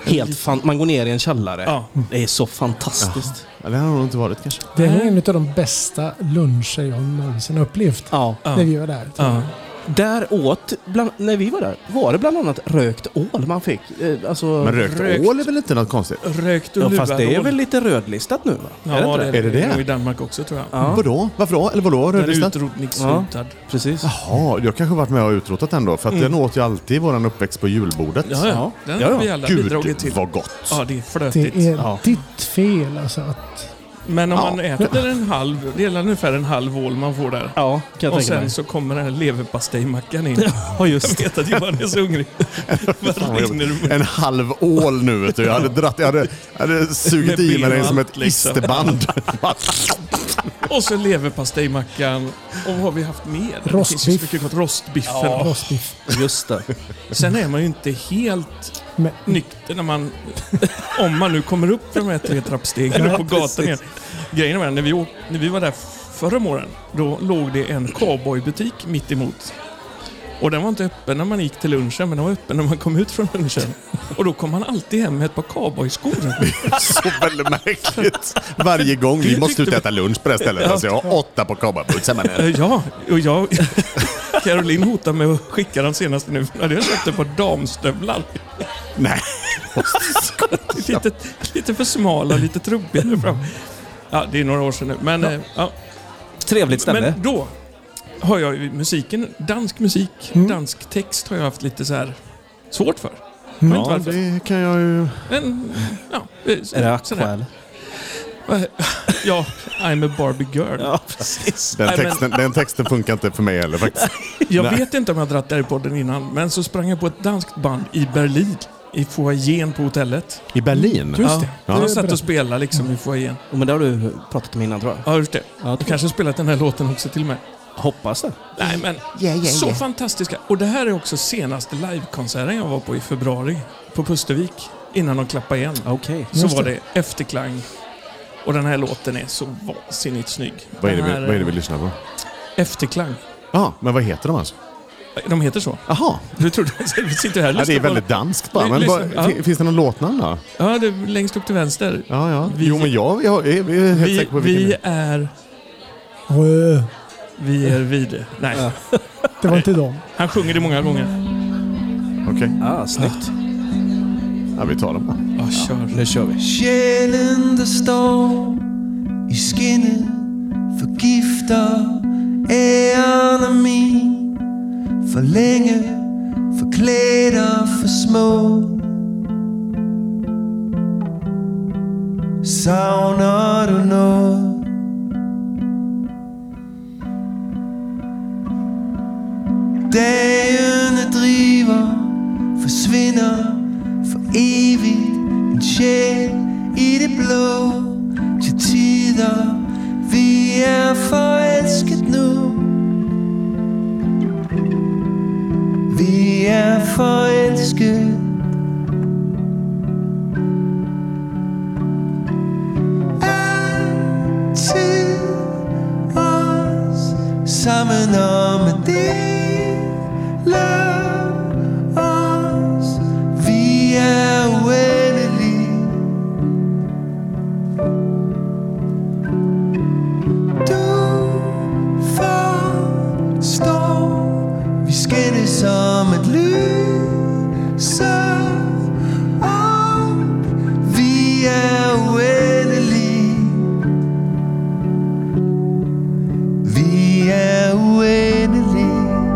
Speaker 5: Helt fan, man går ner i en källare.
Speaker 4: Ja.
Speaker 5: Det är så fantastiskt.
Speaker 3: Ja, det har nog inte varit kanske.
Speaker 1: Det är nog en av de bästa luncher jag någonsin upplevt.
Speaker 5: Ja.
Speaker 1: När vi var där.
Speaker 4: Ja.
Speaker 5: Där åt, bland, när vi var där, var det bland annat rökt ål man fick. Eh, Alltså,
Speaker 3: Men rökt
Speaker 4: rökt.
Speaker 3: ål är väl inte något konstigt?
Speaker 4: Rökt och
Speaker 5: ja, fast det är
Speaker 4: luvad
Speaker 5: väl
Speaker 4: ål.
Speaker 5: lite rödlistat nu va?
Speaker 4: Ja,
Speaker 5: är det inte det?
Speaker 4: det är
Speaker 3: Är det
Speaker 4: det
Speaker 3: det?
Speaker 4: nog i Danmark också tror jag.
Speaker 5: Ja.
Speaker 3: Vadå? Varför då? Eller vadå?
Speaker 4: Den är
Speaker 3: Rödlistat?
Speaker 4: utrotningshotad.
Speaker 5: Precis.
Speaker 3: Ja, jag kanske varit med och utrotat den då, för att den åt ju alltid i våran uppväxt på julbordet.
Speaker 4: Mm. Ja, ja. Den har vi alla bidragit till.
Speaker 3: Gud vad gott!
Speaker 4: Ja, det är
Speaker 1: Det
Speaker 4: flötigt.
Speaker 1: är
Speaker 5: Ja.
Speaker 1: ditt fel alltså. Att
Speaker 4: Men om
Speaker 3: Ja.
Speaker 4: man äter en halv, det är ungefär en halv ål man får där.
Speaker 5: Ja, kan jag
Speaker 4: Och
Speaker 5: tänka
Speaker 4: sen
Speaker 5: mig.
Speaker 4: så kommer den här leverpastejmackan in.
Speaker 5: Ja, just det.
Speaker 4: vet att Johan är så hungrig.
Speaker 3: Fan,
Speaker 4: Vad
Speaker 3: vad
Speaker 4: rinner
Speaker 3: jobbigt.
Speaker 4: du
Speaker 3: en halv ål nu vet du. Jag hade, dratt, jag hade, jag hade sugit
Speaker 4: Med
Speaker 3: i
Speaker 4: ben
Speaker 3: mig
Speaker 4: och
Speaker 3: den som
Speaker 4: allt,
Speaker 3: ett
Speaker 4: liksom.
Speaker 3: isterband.
Speaker 4: Och så leverpastejmackan. Och vad har vi haft mer? Det finns ju så
Speaker 1: Rostbiff.
Speaker 4: mycket gott. Rostbiffen.
Speaker 1: rostbiff.
Speaker 5: Just det.
Speaker 4: Sen är man ju inte helt
Speaker 1: Men,
Speaker 4: nykter när man... Om man nu kommer upp för de här tre trappstegen upp på gatan igen. Grejen var när vi, åk- när vi var där förra om åren, då låg det en cowboybutik mitt emot. Och den var inte öppen när man gick till lunchen, men den var öppen när man kom ut från lunchen. Och då kom man alltid hem med ett par cowboyskor.
Speaker 3: Så väldigt märkligt. Varje gång. Vi måste ut och äta lunch på det här stället. Alltså, jag har åtta på cowboyputsar med
Speaker 4: Eh, Ja, och jag... Caroline hotar med att skicka den senaste nu. för Hade jag köpt ett par damstövlar.
Speaker 3: Nej.
Speaker 4: Lite, lite för smala, lite trubbiga där fram. Ja, det är några år sedan nu. Men, eh, ja.
Speaker 5: Trevligt ställe.
Speaker 4: men då har jag ju musiken, dansk musik, dansk text har jag haft lite så här svårt för. Jag vet
Speaker 3: Ja,
Speaker 4: inte varför.
Speaker 3: det kan jag ju...
Speaker 4: Men, ja, eh, så,
Speaker 5: är det
Speaker 4: sådär.
Speaker 5: Aqua eller?
Speaker 4: Ja, I'm a Barbie girl.
Speaker 5: precis.
Speaker 3: Den
Speaker 4: Nej, men-
Speaker 3: texten, den texten funkar inte för mig heller faktiskt.
Speaker 4: Jag
Speaker 3: Nej.
Speaker 4: vet inte om jag har dragit det här i podden innan, men så sprang jag på ett danskt band i Berlin. I foajén på hotellet.
Speaker 3: I Berlin?
Speaker 1: Just det.
Speaker 3: Ja.
Speaker 4: De satt och spelade liksom i foajén.
Speaker 5: Ja, Men det har du pratat om innan tror jag.
Speaker 4: Ja, just det.
Speaker 5: Ja,
Speaker 4: Du kanske har spelat den här låten också till mig.
Speaker 5: Hoppas det.
Speaker 4: Nej, men så fantastiska. Och det här är också senaste livekonserten jag var på i februari. På Pustervik. Innan de klappade igen.
Speaker 5: Okej.
Speaker 4: så
Speaker 1: just
Speaker 4: var
Speaker 1: det.
Speaker 4: det efterklang. Och den här låten är så vansinnigt snygg.
Speaker 3: Vad är, det
Speaker 4: Den
Speaker 3: vi,
Speaker 4: här,
Speaker 3: vad är det vi lyssnar på?
Speaker 4: Efterklang.
Speaker 3: Ja, men vad heter de alltså?
Speaker 4: De heter så.
Speaker 3: Jaha,
Speaker 4: Du trodde vi sitter här
Speaker 3: ja,
Speaker 4: och
Speaker 3: det
Speaker 4: lyssnar
Speaker 3: är
Speaker 4: på-
Speaker 3: väldigt danskt bara. Men
Speaker 4: Lyssna,
Speaker 3: vad,
Speaker 4: ja.
Speaker 3: fi- Finns det någon låtnamn då?
Speaker 4: Ja, det är längst upp till vänster.
Speaker 3: Ja, ja.
Speaker 4: Vi-
Speaker 3: jo, men jag, jag, är- jag är helt
Speaker 4: Vi,
Speaker 3: säker på vilken...
Speaker 4: vi är...
Speaker 1: Rö.
Speaker 4: Vi är vide. Nej,
Speaker 1: det var inte dem.
Speaker 4: han sjunger det många gånger.
Speaker 3: Okej,
Speaker 5: Ah, snyggt.
Speaker 3: ja, vi tar den bara.
Speaker 4: Ja, kör.
Speaker 5: Nu kör vi.
Speaker 6: Själ in the storm I skinnet Förgifter ärarna min För länge Förkläder för små Savner du något Dagene driver Forsvinder for evigt En sjæl i det blå Til tider Vi er forelsket nu Vi er forelsket Altid os Sammen om at dele os Vi er uendelige Du forstår Vi skændes som et lyse op Vi er uendelige Vi er uendelige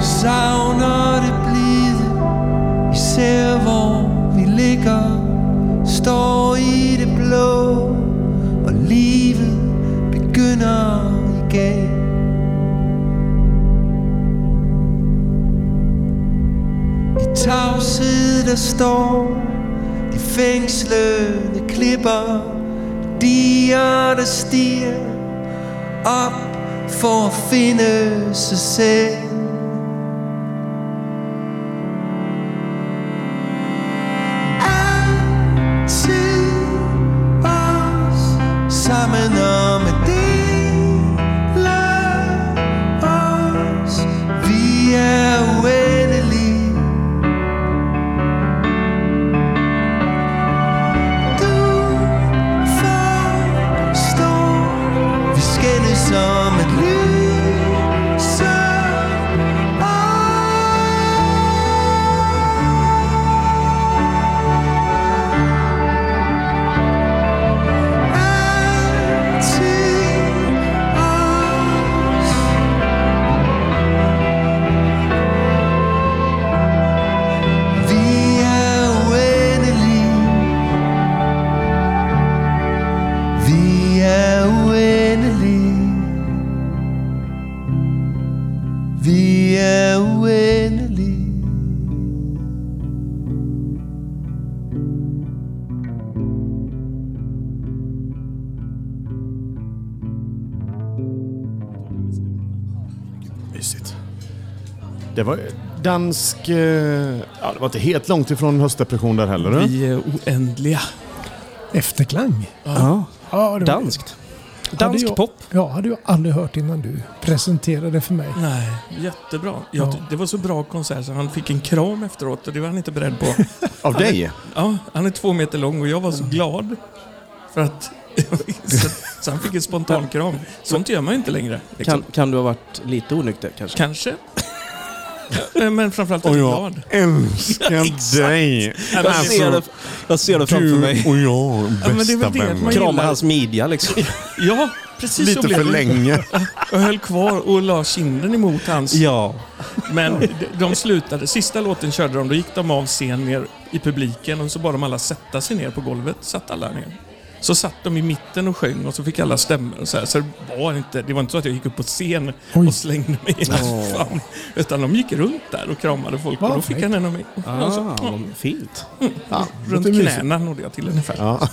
Speaker 6: savner det blide Især hvor vi ligger Står i det blå Og livet begynder igen I tavshed der står De fængslede klipper Dier der stiger Op for at finde sig selv altid os sammen om at dele os. Vi er uendelige. Du forstår, vi skændes om at lyse op. Vi er uendelige.
Speaker 3: Mysigt. Det var dansk... eh, Ja, det var inte helt långt ifrån höstdepression där heller. du.
Speaker 4: Vi är oändliga.
Speaker 1: Efterklang.
Speaker 5: Ja.
Speaker 1: Ja, det var-
Speaker 5: Danskt. Dansk
Speaker 1: Hade jag-
Speaker 5: pop.
Speaker 1: Ja, hade jag aldrig hört innan du presenterade för mig.
Speaker 4: Nej, jättebra.
Speaker 1: Ja.
Speaker 4: Jag, ty- Det var så bra konsert så han fick en kram efteråt och det var han inte beredd på.
Speaker 3: Av dig?
Speaker 4: Ja, han är två meter lång och jag var så glad för att... så, så han fick en spontan kram. Sånt gör man ju inte längre. Liksom.
Speaker 5: Kan, kan du ha varit lite onykter kanske?
Speaker 4: Kanske. Ja, Men framförallt är jag glad.
Speaker 3: älskar dig!
Speaker 5: Jag ser det, jag ser det framför mig.
Speaker 3: och jag, bästa
Speaker 4: men det är väl det att man gillar-
Speaker 5: Krama hans midja liksom.
Speaker 4: Ja, precis så
Speaker 3: Lite
Speaker 4: blev
Speaker 3: för
Speaker 4: det.
Speaker 3: länge.
Speaker 4: Jag höll kvar och la kinden emot hans.
Speaker 5: Ja.
Speaker 4: Men de- de slutade. Sista låten körde de. Då gick de av scen ner i publiken och så bad de alla sätta sig ner på golvet. Satt alla ner. Så satt de i mitten och sjöng och så fick alla stämmor och så, här. så det var inte, det var inte så att jag gick upp på scen
Speaker 1: Oj.
Speaker 4: och slängde mig i hans famn. Utan de gick runt där och kramade folk och
Speaker 1: Vad
Speaker 4: då fick han en av mig.
Speaker 5: Ah,
Speaker 4: Alltså, ja,
Speaker 5: vad fint.
Speaker 4: runt
Speaker 1: låter mysigt.
Speaker 4: knäna nådde jag till ungefär.
Speaker 3: Ja.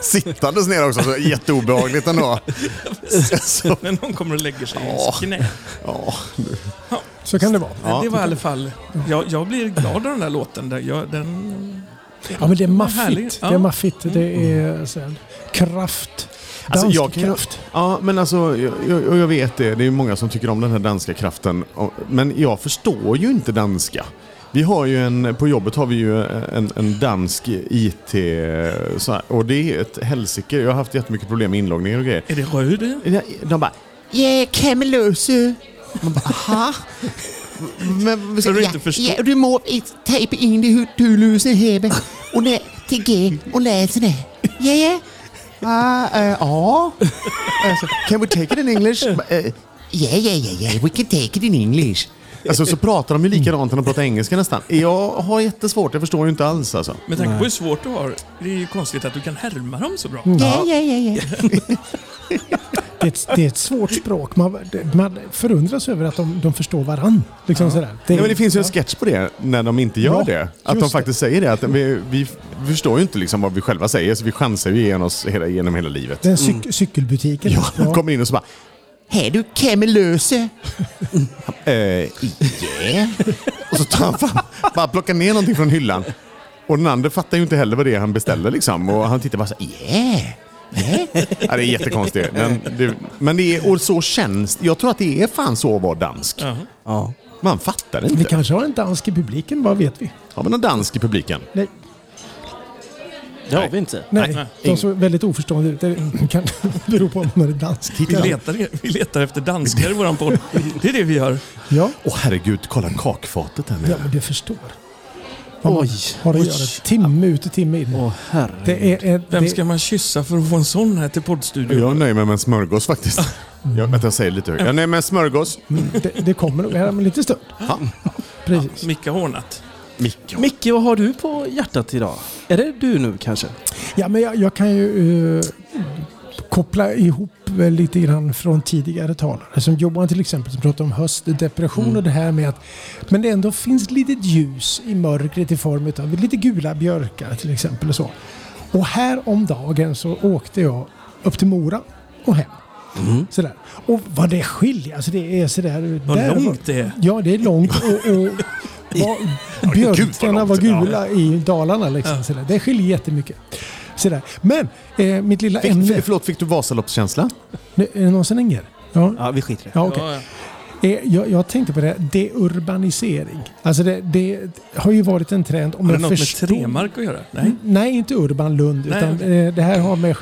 Speaker 3: Sittandes ner också, så jätteobehagligt ändå. Så,
Speaker 4: När någon kommer och lägger sig i ens knä.
Speaker 3: ja.
Speaker 1: Så kan det vara.
Speaker 4: Men det var i alla fall... Jag, jag blir glad av den där låten. Där jag, den,
Speaker 1: Ja, men det är maffigt.
Speaker 4: Härligt. Ja.
Speaker 1: Det är maffigt. Det är eh, så här, kraft. Dansk
Speaker 3: Alltså, jag kan-
Speaker 1: kraft.
Speaker 3: Ja, men alltså, jag, jag, jag vet det. Det är många som tycker om den här danska kraften. Och- Men jag förstår ju inte danska. Vi har ju en, på jobbet har vi ju en, en dansk IT så här, och det är ett helsike. Jag har haft jättemycket problem med inloggningar och grejer.
Speaker 4: är det röd?
Speaker 3: De bara Yeah, Camelose. Man bara aha. Men,
Speaker 4: Så du inte förstår.
Speaker 3: du må inte tejpa in det hur du löser hebe. Och det till G och läser det. Ja, ja. Ah, eh, Ja. Alltså, Can we take it in English? Eh, Yeah, yeah, yeah, yeah. We can take it in English. Alltså så pratar de ju likadant när de pratar engelska nästan. Jag har jättesvårt, jag förstår ju inte alls alltså.
Speaker 4: Med tanke på hur svårt du har, det är ju konstigt att du kan härma dem så bra.
Speaker 3: Ja, ja, ja, ja.
Speaker 1: Det är, ett, det är ett svårt språk. Man, det- man förundras över att de, de förstår varann. Liksom sådär.
Speaker 3: Ja, men det finns ju en sketch på det, när de inte gör
Speaker 1: Ja,
Speaker 3: det. Att de
Speaker 1: just
Speaker 3: faktiskt säger det, att vi, vi förstår ju inte liksom vad vi själva säger, så vi chansar ju igenom, oss hela, genom hela livet.
Speaker 1: Den cyk, cykelbutiken.
Speaker 3: Ja, de kommer in och så bara... Hej du Kemmelöse! Eh, yeah. Och så tar han fram, bara plockar ner någonting från hyllan. Och den andra fattar ju inte heller vad det är han beställer liksom. Och han tittar bara så här, yeah. yeah." Ja, det är jättekonstigt. Men, det, men det är, och så känns Jag tror att det är fan så att vara dansk.
Speaker 5: Ja.
Speaker 3: Man fattar inte.
Speaker 1: Vi kanske har en dansk i publiken, vad vet vi?
Speaker 3: Har vi någon dansk i publiken?
Speaker 1: Nej,
Speaker 5: Det har vi inte.
Speaker 1: nej.
Speaker 4: nej.
Speaker 1: de såg väldigt oförstående ut. Det kan bero på om man är dansk.
Speaker 4: Vi letar, e- vi letar efter danskar i våran podd. Det är det vi gör.
Speaker 1: Ja,
Speaker 3: Åh herregud, kolla kakfatet här
Speaker 1: ja
Speaker 3: nere.
Speaker 1: men du förstår.
Speaker 5: Oj.
Speaker 1: Har det att
Speaker 5: Oj.
Speaker 1: göra. Timme ut och timme in.
Speaker 5: Åh herre.
Speaker 1: Det är, är,
Speaker 4: Vem
Speaker 1: det,
Speaker 4: ska man kyssa för att få en sån här till poddstudion?
Speaker 3: Jag nöjer mig med en smörgås faktiskt. Jag, vänta, jag säger lite högre. Ja, nej, men smörgås.
Speaker 1: Det, det kommer nog här om en liten stund.
Speaker 3: Ja.
Speaker 1: Precis.
Speaker 4: Micke Hornat.
Speaker 3: Micke.
Speaker 5: Micke, vad har du på hjärtat idag? Är det du nu kanske?
Speaker 1: Ja, men jag, jag kan ju eh, koppla ihop eh, lite grann från tidigare talare. Som Johan till exempel som pratade om höstdepression och det här med att men det ändå finns litet ljus i mörkret i form av lite gula björkar till exempel. Och, så. och här om dagen så åkte jag upp till Mora och hem. Sådär. Och vad det skiljer, alltså det är sådär...
Speaker 4: Vad
Speaker 1: där-
Speaker 4: långt det är.
Speaker 1: Ja, det är långt. Och, och, var, björkarna
Speaker 3: långt.
Speaker 1: var gula i Dalarna. Liksom, sådär. Det skiljer jättemycket. Sådär. Men eh, mitt lilla
Speaker 3: Fick,
Speaker 1: ämne...
Speaker 3: f- förlåt, fick du Vasaloppskänsla?
Speaker 1: Nu, är det någon som ringer? Ja,
Speaker 5: Ja, vi skiter i det.
Speaker 1: ja okej.
Speaker 4: Ja, ja.
Speaker 1: Eh, Jag, jag tänkte på det, här, deurbanisering. Alltså det, det har ju varit en trend. Om
Speaker 4: Har det
Speaker 1: jag
Speaker 4: något med
Speaker 1: förstår- Mm.
Speaker 4: Tremark att göra? Nej.
Speaker 1: Nej, inte Urban Lund.
Speaker 4: Nej,
Speaker 1: utan
Speaker 4: okej.
Speaker 1: eh, det här har med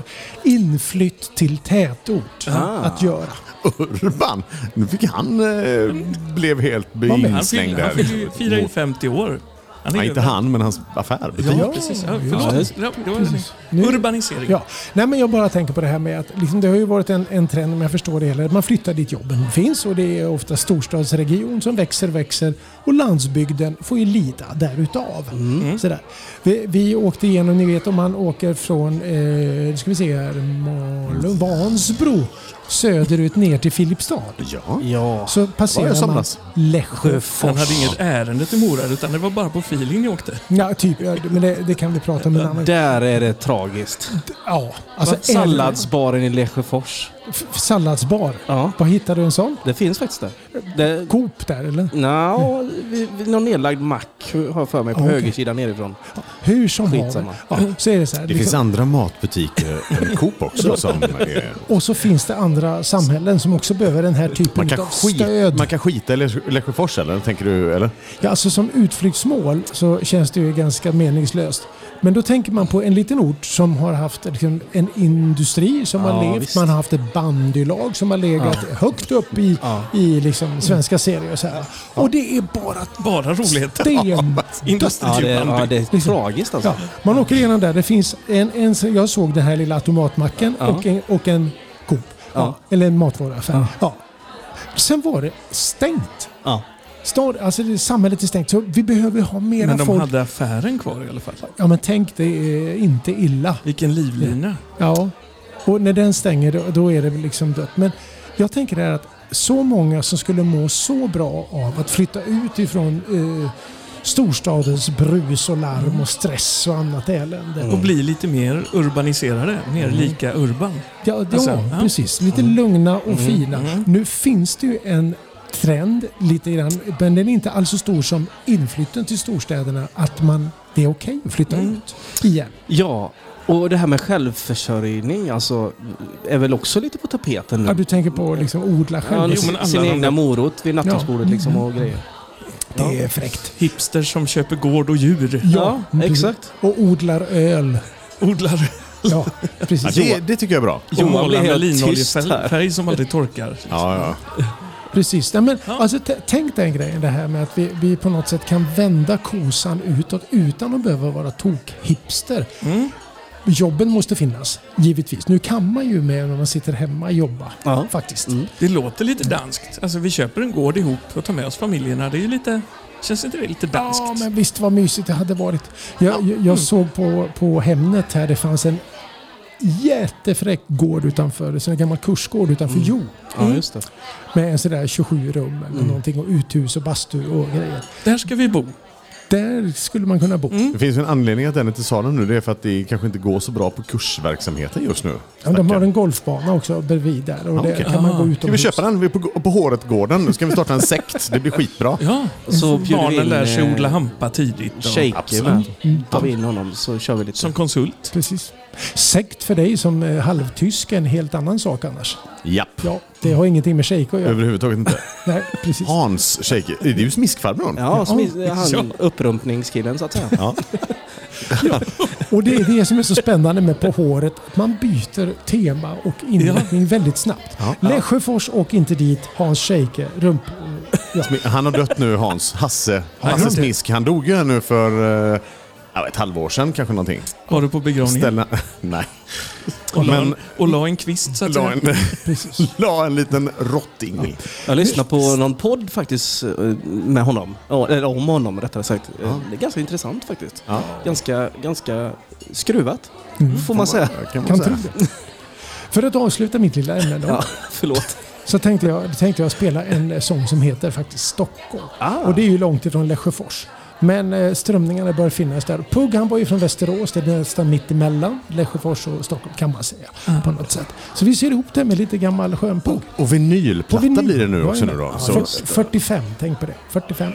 Speaker 1: inflytt till tätort
Speaker 5: Ah.
Speaker 1: att göra.
Speaker 3: Urban? Nu fick han... Eh, blev helt be-
Speaker 1: Han fick-
Speaker 4: Han
Speaker 3: inslängd
Speaker 4: fyller- han
Speaker 3: där.
Speaker 4: fyller ju- firar ju 50 år. Han
Speaker 3: Nej, inte han, men hans affär.
Speaker 4: Ja,
Speaker 1: Ja,
Speaker 4: precis. Ja,
Speaker 1: ja,
Speaker 4: förlåt.
Speaker 5: just-
Speaker 4: Ja, det var
Speaker 1: Precis.
Speaker 4: det.
Speaker 1: Nu-
Speaker 4: Urbanisering.
Speaker 1: Ja. Nej, men jag bara tänker på det här med att liksom, det har ju varit en, en trend, om jag förstår det hela, att man flyttar dit jobben finns och det är ofta storstadsregion som växer, växer och landsbygden får ju lida därutav. Sådär. Vi, vi åkte igenom, ni vet om man åker från, eh, nu ska vi se här, Malung, Vansbro söderut ner till Filipstad.
Speaker 3: Ja.
Speaker 5: Ja.
Speaker 1: Så
Speaker 3: jag
Speaker 1: passerar man
Speaker 3: somnas.
Speaker 1: Lässjö.
Speaker 4: Han hade inget ärende till Mora, utan det var bara på feeling ni åkte.
Speaker 1: Ja, typ, ja, men det, det kan vi prata om en annan
Speaker 5: Där är det tragiskt.
Speaker 1: Ja, alltså
Speaker 5: Salladsbaren i Lesjöfors.
Speaker 1: f- salladsbar.
Speaker 5: Ja,
Speaker 1: Vad hittar du en sån?
Speaker 5: det finns faktiskt där. Det,
Speaker 1: Coop där eller?
Speaker 5: Nja, vi- vi- någon nedlagd mack har jag för mig på
Speaker 1: Okej.
Speaker 5: högersidan nerifrån.
Speaker 1: Hur som
Speaker 5: Skitsamma.
Speaker 1: haver. Ja, så är det så här. Liksom.
Speaker 3: Det finns andra matbutiker än Coop också som eh, är...
Speaker 1: och så finns det andra samhällen som också behöver den här
Speaker 3: Man
Speaker 1: typen av
Speaker 3: kan, skita,
Speaker 1: stöd.
Speaker 3: man kan skita i Lesj- Lesjöfors eller? Tänker du? Eller?
Speaker 1: Ja, alltså som utflyktsmål så känns det ju ganska meningslöst. Men då tänker man på en liten ort som har haft liksom, en industri som har
Speaker 5: Ja,
Speaker 1: levt.
Speaker 5: visst.
Speaker 1: Man har haft ett bandylag som har legat högt upp i,
Speaker 5: Ja.
Speaker 1: i liksom, svenska serier. Och, så här. och det är bara
Speaker 4: Bara roligheter.
Speaker 1: stendött.
Speaker 5: Ja, det, ja, det är tragiskt alltså.
Speaker 1: Ja, man åker igenom där. Det finns en, en jag såg den här lilla automatmacken
Speaker 5: Ja.
Speaker 1: och en, och en Coop. Ja.
Speaker 5: Ja.
Speaker 1: Eller en matvaruaffär. Ja.
Speaker 5: Ja.
Speaker 1: Sen var det stängt.
Speaker 5: Ja.
Speaker 1: Stad, alltså det, samhället är stängt, så vi behöver ha mera
Speaker 4: Men de
Speaker 1: folk.
Speaker 4: hade affären kvar i alla fall.
Speaker 1: Ja, men tänk, det är inte illa.
Speaker 4: Vilken livlina.
Speaker 1: Ja, och när den stänger då, då är det väl liksom dött. Men jag tänker det här att så många som skulle må så bra av att flytta ut ifrån eh, storstadens brus och larm och stress och annat elände.
Speaker 4: Och bli lite mer urbaniserade. Mer
Speaker 5: Mm.
Speaker 4: lika urban.
Speaker 1: Ja, ja
Speaker 4: Alltså, ja.
Speaker 1: precis. Lite lugna och fina. Nu finns det ju en trend, lite grann, men den är inte alls så stor som inflytten till storstäderna, att man, det är okej att flytta
Speaker 5: Mm.
Speaker 1: ut igen.
Speaker 5: Ja, och det här med självförsörjning alltså, är väl också lite på tapeten
Speaker 1: Ja,
Speaker 5: nu?
Speaker 1: du tänker på liksom odla
Speaker 5: Ja,
Speaker 1: själv.
Speaker 5: nu,
Speaker 4: Jo, men alla
Speaker 5: sin
Speaker 4: de-
Speaker 5: egna morot vid nattduksbordet
Speaker 1: Ja.
Speaker 5: liksom och grejer.
Speaker 1: det är fräckt.
Speaker 4: Hipsters som köper gård och djur.
Speaker 1: Ja,
Speaker 5: Ja,
Speaker 1: precis.
Speaker 5: exakt.
Speaker 1: Och odlar öl.
Speaker 4: Odlar
Speaker 1: Ja,
Speaker 3: Ja,
Speaker 1: precis.
Speaker 3: det, det tycker jag är bra.
Speaker 5: Och man blir
Speaker 4: målar med
Speaker 5: helt tyst här.
Speaker 4: linoljefärg färg som aldrig torkar.
Speaker 3: Ja, ja.
Speaker 1: Precis. Nej, men,
Speaker 4: Ja.
Speaker 1: alltså, t- tänk den grejen, det här med att vi, vi på något sätt kan vända kosan utåt utan att behöva vara tokhipster.
Speaker 4: Mm.
Speaker 1: Jobben måste finnas, givetvis. Nu kan man ju med när man sitter hemma jobba,
Speaker 5: Ja.
Speaker 1: faktiskt.
Speaker 5: Mm.
Speaker 4: Det låter lite danskt. Alltså vi köper en gård ihop och tar med oss familjerna. Det är ju lite... Känns inte det lite danskt?
Speaker 1: Ja, men visst vad mysigt det hade varit. Jag, jag, jag såg på, på Hemnet här, det fanns en jättefräck gård utanför, så en gammal kursgård utanför Jo.
Speaker 4: Mm.
Speaker 5: Ja, just det.
Speaker 1: Med en sådär 27 rum eller någonting och uthus och bastu och grejer.
Speaker 4: Där ska vi bo.
Speaker 1: Där skulle man kunna bo.
Speaker 3: Det finns ju en anledning att den inte sa den nu. Det är för att det kanske inte går så bra på kursverksamheten just nu.
Speaker 1: Ja, de har
Speaker 3: Stackarn.
Speaker 1: en golfbana också bredvid där och
Speaker 3: Ja,
Speaker 1: där
Speaker 3: okej. Ah.
Speaker 1: kan man gå utomhus.
Speaker 3: Ska vi köpa den? Vi är på, på Håret-gården. Nu ska vi starta en sekt. Det blir skitbra.
Speaker 4: Ja,
Speaker 5: Så bjuder vi
Speaker 4: Mm. barnen
Speaker 5: in,
Speaker 4: lär sig
Speaker 5: eh,
Speaker 4: odla hampa tidigt. och-
Speaker 5: Shaker med.
Speaker 1: Mm.
Speaker 5: Tar vi in honom så kör vi lite.
Speaker 4: Som konsult.
Speaker 1: Precis. Sekt för dig som eh, halvtysk är en helt annan sak annars.
Speaker 3: Japp.
Speaker 1: Ja, det har ingenting med shejk att göra.
Speaker 3: Överhuvudtaget inte.
Speaker 1: Nej, precis.
Speaker 3: Hans shaker. Det är ju smiskfarbrorn.
Speaker 5: Ja, smi-
Speaker 1: Ja.
Speaker 5: han, upprumpningskillen så att säga.
Speaker 3: Ja.
Speaker 1: Och det är det som är så spännande med På håret. att Man byter tema och inriktning väldigt snabbt.
Speaker 3: Ja.
Speaker 1: Lesjöfors åk inte dit, Hans Scheike, rump... Ja.
Speaker 3: Han har dött nu, Hans. Hasse.
Speaker 4: glömde.
Speaker 3: Hasse Smisk. Han dog ju här nu för eh, ja, ett halvår sedan kanske någonting.
Speaker 4: Var du på begravningen?
Speaker 3: Ställa... Nej.
Speaker 4: Och, la,
Speaker 3: Men-
Speaker 4: en, och la en kvist så att
Speaker 3: La
Speaker 4: säga.
Speaker 3: en, la en liten rotting i.
Speaker 5: Jag lyssnade på någon podd faktiskt eh, med honom. Ja, Eller om honom rättare sagt. Eh, Det är ganska intressant faktiskt.
Speaker 3: Ja.
Speaker 5: Ganska, ganska skruvat.
Speaker 4: Mm.
Speaker 5: Får man säga.
Speaker 3: Ja, Kan man
Speaker 1: Kan
Speaker 3: säga.
Speaker 1: tro det. För att avsluta mitt lilla ämne då,
Speaker 5: Ja, förlåt.
Speaker 1: så tänkte jag, tänkte jag spela en eh, sång som heter faktiskt Stockholm.
Speaker 3: Ah.
Speaker 1: Och det är ju långt ifrån Lesjöfors. Men eh, strömningarna bör finnas där. Pugh han var ju från Västerås, det är nästan mitt emellan Lesjöfors och Stockholm kan man säga.
Speaker 3: Ah.
Speaker 1: På något sätt. Så vi ser ihop det med lite gammal skönpugg.
Speaker 3: Och vinylplatta
Speaker 1: På vinyl.
Speaker 3: blir det nu
Speaker 1: Ja,
Speaker 3: också. Nu
Speaker 1: jajamän. Ja,
Speaker 3: då. Så,
Speaker 1: fyrt- 45, tänk på det. 45.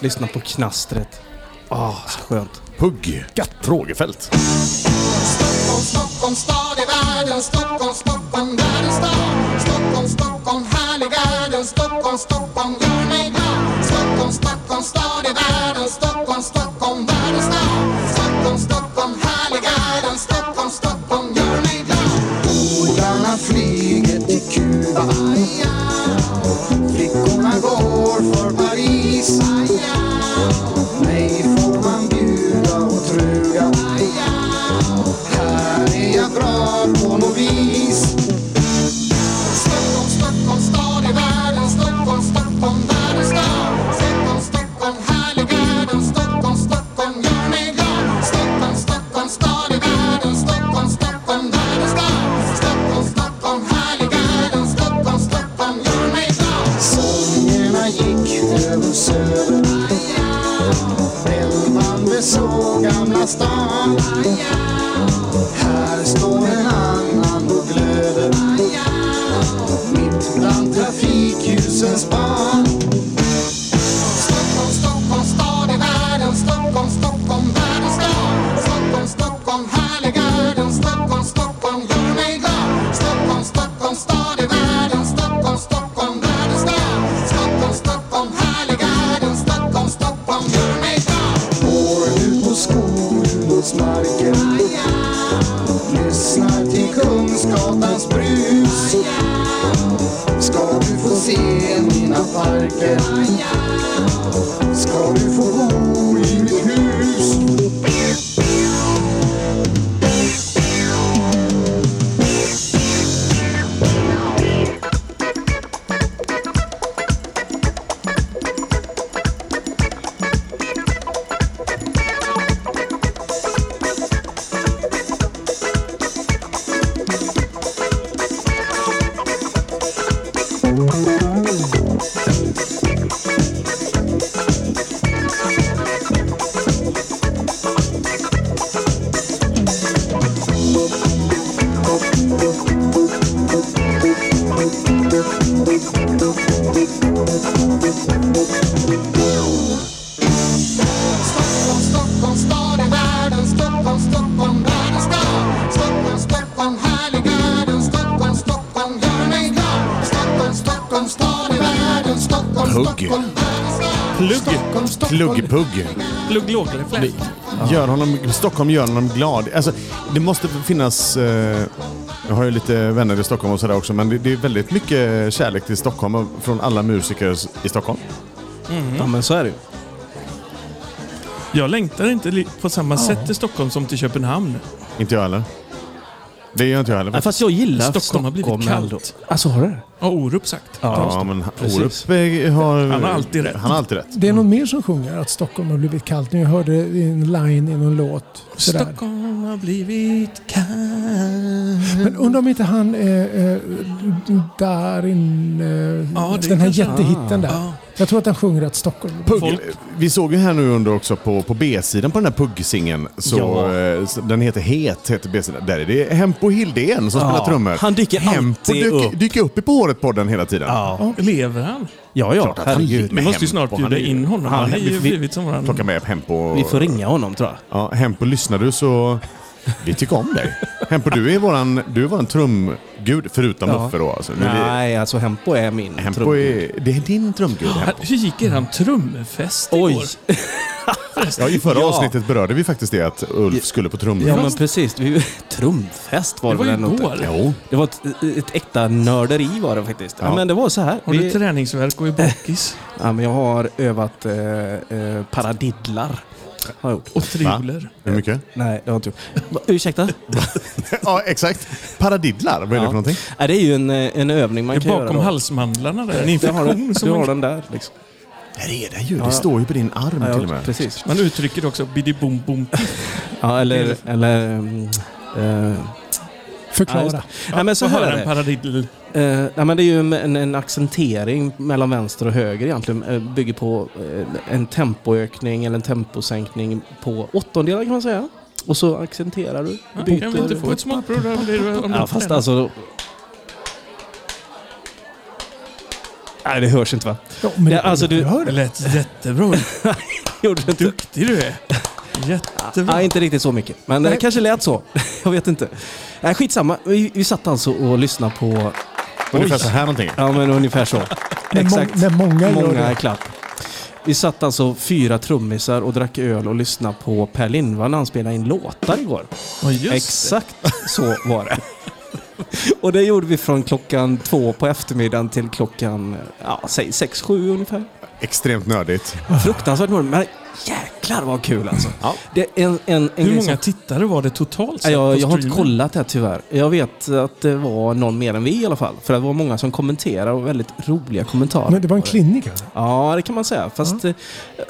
Speaker 5: Lyssna på knastret. Ah, så skönt.
Speaker 3: Pugg. Frågefält.
Speaker 6: Stockholm, Stockholm stad i världen Stockholm, Stockholm världens stad Stockholm, Stockholm härlig är den Stockholm, Stockholm gör mig glad Stockholm, Stockholm stad i världen Stockholm, Stockholm världens stad Stockholm, Stockholm härlig är den Stockholm, Stockholm gör mig glad Ordarna flyger till Kuba, aj, aj. Flickorna går för Paris, aj, aj. Mig får man bjuda och truga, aj, aj. Här är jag bra på något vis Stockholm, Stockholm, stad i världen Stockholm, Stockholm, världens stad Stockholm, Stockholm, härlig är den Stockholm, Stockholm, gör mig glad Stockholm, Stockholm, stad i världen Stockholm, Stockholm, världens stad Stockholm, Stockholm, härlig är den Stockholm, Stockholm, gör mig glad Sångerna gick över söder Elvan besåg Gamla stan Här står en annan och glöder mitt bland trafikljusens barn Stockholm, Stockholm, stad i världen Stockholm, Stockholm, världens stad Stockholm, Stockholm, härlig är den Stockholm, Stockholm, gör mig glad Stockholm, Stockholm, stad i världen Stockholm, Stockholm, världens stad Stockholm, Stockholm, härlig är den Stockholm, Stockholm, gör mig glad Går ut på skolans marker Lyssnar till Kungsgatans brus Ska du få se mina parker Ska du få bo i mitt hus Stockholm, Stockholm, stad i världen Stockholm, Stockholm, världens stad Stockholm, Stockholm, härlig är den Stockholm, Stockholm, gör mig glad Stockholm, Stockholm, stad i världen Stockholm,
Speaker 3: Hugg.
Speaker 6: Stockholm, världens stad
Speaker 4: Plugg.
Speaker 6: Stockholm, Stockholm,
Speaker 3: Plugg-Pugg.
Speaker 4: Plugg lågfläkt.
Speaker 3: Gör honom, Stockholm gör honom glad. Alltså, det måste finnas... Eh, jag har ju lite vänner i Stockholm och sådär också, men det, det är väldigt mycket kärlek till Stockholm och från alla musiker s- i Stockholm.
Speaker 5: Ja, men så är det ju.
Speaker 4: Jag längtar inte li- på samma sätt till Stockholm som till Köpenhamn.
Speaker 3: Inte jag heller. Det gör inte jag heller.
Speaker 5: Ja, fast jag gillar
Speaker 4: Stockholm har blivit kallt.
Speaker 5: ändå. Alltså, har du det?
Speaker 4: Har Orup sagt.
Speaker 3: ja, men
Speaker 5: precis.
Speaker 3: Orup eh, har...
Speaker 4: Han har alltid rätt.
Speaker 3: Han har alltid rätt.
Speaker 1: Det är någon mer som sjunger att Stockholm har blivit kallt. Nu hörde jag en line i någon låt. Sådär.
Speaker 4: Stockholm har blivit kallt.
Speaker 1: Men undrar om inte han eh, eh, Darin, eh,
Speaker 4: Ja, det
Speaker 1: den här
Speaker 4: kanske-
Speaker 1: jättehitten där.
Speaker 5: Ah.
Speaker 4: Ja.
Speaker 1: Jag tror att han sjunger att Stockholm...
Speaker 3: Pugg,
Speaker 4: Folk-
Speaker 3: Eh, Vi såg ju här nu under också på, på B-sidan på den här puggsingen. Så,
Speaker 5: Ja.
Speaker 3: eh, så Den heter Het, heter B-sidan. Där är det Hempo Hildén som spelar trummor.
Speaker 5: han dyker
Speaker 3: Hempo
Speaker 5: alltid
Speaker 3: dyker,
Speaker 5: upp.
Speaker 3: dyker upp i på podden hela tiden.
Speaker 4: Lever han?
Speaker 5: Ja, ja.
Speaker 3: Klart att han
Speaker 5: Herregud.
Speaker 3: gillar-
Speaker 4: Vi
Speaker 3: Men
Speaker 4: måste ju
Speaker 3: hem-
Speaker 4: snart
Speaker 3: och han
Speaker 4: bjuda
Speaker 3: är ju-
Speaker 4: in honom.
Speaker 3: han-
Speaker 4: Han har ju
Speaker 3: vi-
Speaker 4: blivit som våran...
Speaker 3: Plocka med Hempo.
Speaker 5: Vi får ringa honom, tror jag.
Speaker 3: Ja, Hempo, lyssnar du så... Vi tycker om dig. Hempo, du är våran, du är våran trumgud, förutom
Speaker 5: Ja.
Speaker 3: Muffe då. Alltså. Men det-
Speaker 5: Nej, alltså Hempo är min
Speaker 3: Hempo
Speaker 5: trumgud.
Speaker 3: är, det är din trumgud,
Speaker 4: Han-
Speaker 3: Hempo.
Speaker 4: Hur gick eran trummefest
Speaker 5: Oj!
Speaker 4: igår?
Speaker 3: Ja, I förra
Speaker 5: Ja.
Speaker 3: avsnittet berörde vi faktiskt det att Ulf skulle på
Speaker 5: Ja,
Speaker 3: trumfest.
Speaker 5: men precis. Vi, trumfest var
Speaker 4: Det
Speaker 5: det
Speaker 4: var
Speaker 5: väl
Speaker 4: ju
Speaker 5: ändå inte?
Speaker 4: igår.
Speaker 3: Jo.
Speaker 5: Det var ett, ett äkta nörderi var det faktiskt.
Speaker 3: Ja.
Speaker 5: Ja. Men det var så här.
Speaker 4: Har du
Speaker 5: Vi-
Speaker 4: träningsvärk och är bakis?
Speaker 5: ja, men jag har övat eh, eh, paradiddlar. har jag gjort.
Speaker 4: Och trioler.
Speaker 3: Hur mycket?
Speaker 5: Nej, det har jag inte gjort. Va, Ursäkta?
Speaker 3: ja, exakt. Paradiddlar, vad är det för någonting?
Speaker 5: Nej, det är ju en, eh, en övning man
Speaker 4: Det är
Speaker 5: kan göra.
Speaker 4: bakom
Speaker 5: då.
Speaker 4: halsmandlarna där.
Speaker 5: Du har, den,
Speaker 4: som
Speaker 5: du har
Speaker 4: man- Mm,
Speaker 5: den där liksom.
Speaker 3: Där är det ju. Det står ju på din arm
Speaker 5: Ja,
Speaker 3: till och
Speaker 5: ja,
Speaker 3: med.
Speaker 5: precis.
Speaker 4: Man uttrycker också bidi bom bom
Speaker 5: Ja, eller... eller mm, eh, Ja, just
Speaker 1: Förklara.
Speaker 5: det. Nej, men så här är
Speaker 4: höra en
Speaker 5: det.
Speaker 4: paradiddel.
Speaker 5: Eh, nej, men det är ju en, en, en accentering mellan vänster och höger egentligen. Eh, bygger på eh, en tempoökning eller en temposänkning på åttondelar kan man säga. Och så accenterar du.
Speaker 4: Ja, Kan vi inte få ett smakprov där? om det- om det-
Speaker 5: Ja, fast alltså... Nej, det hörs inte va?
Speaker 1: Ja, men
Speaker 5: Ja, alltså, du-
Speaker 1: jag hör
Speaker 4: Det
Speaker 1: det.
Speaker 4: lät jättebra.
Speaker 5: Gjorde det inte?
Speaker 4: Duktig du är. Jättebra.
Speaker 5: Nej, inte riktigt så mycket. Men det kanske lät så. jag vet inte. Nej, skitsamma. Vi, vi satt alltså och lyssnade på...
Speaker 3: Ungefär så här någonting.
Speaker 5: Ja, men ungefär så.
Speaker 1: När,
Speaker 5: Exakt.
Speaker 1: Må, när många, gör
Speaker 5: Många
Speaker 1: det.
Speaker 5: klapp. Vi satt alltså fyra trummisar och drack öl och lyssnade på Per Lindvall när han spelade in låtar igår.
Speaker 4: Ja, just det.
Speaker 5: Exakt så var det. Och det gjorde vi från klockan två på eftermiddagen till klockan, eh, ja, säg sex, sju ungefär.
Speaker 3: Extremt nördigt.
Speaker 5: Fruktansvärt morgon, men jäklar vad kul alltså. Det är en, en, en
Speaker 4: Hur
Speaker 5: grej
Speaker 4: många
Speaker 5: som-
Speaker 4: tittare var det totalt
Speaker 5: Ja,
Speaker 4: sett
Speaker 5: jag,
Speaker 4: på
Speaker 5: jag har inte
Speaker 4: streamen?
Speaker 5: kollat det här tyvärr. Jag vet att det var någon mer än vi i alla fall. För det var många som kommenterade och väldigt roliga kommentarer.
Speaker 1: Men det var en klinik. alltså.
Speaker 5: Ja, det kan man säga. Fast eh,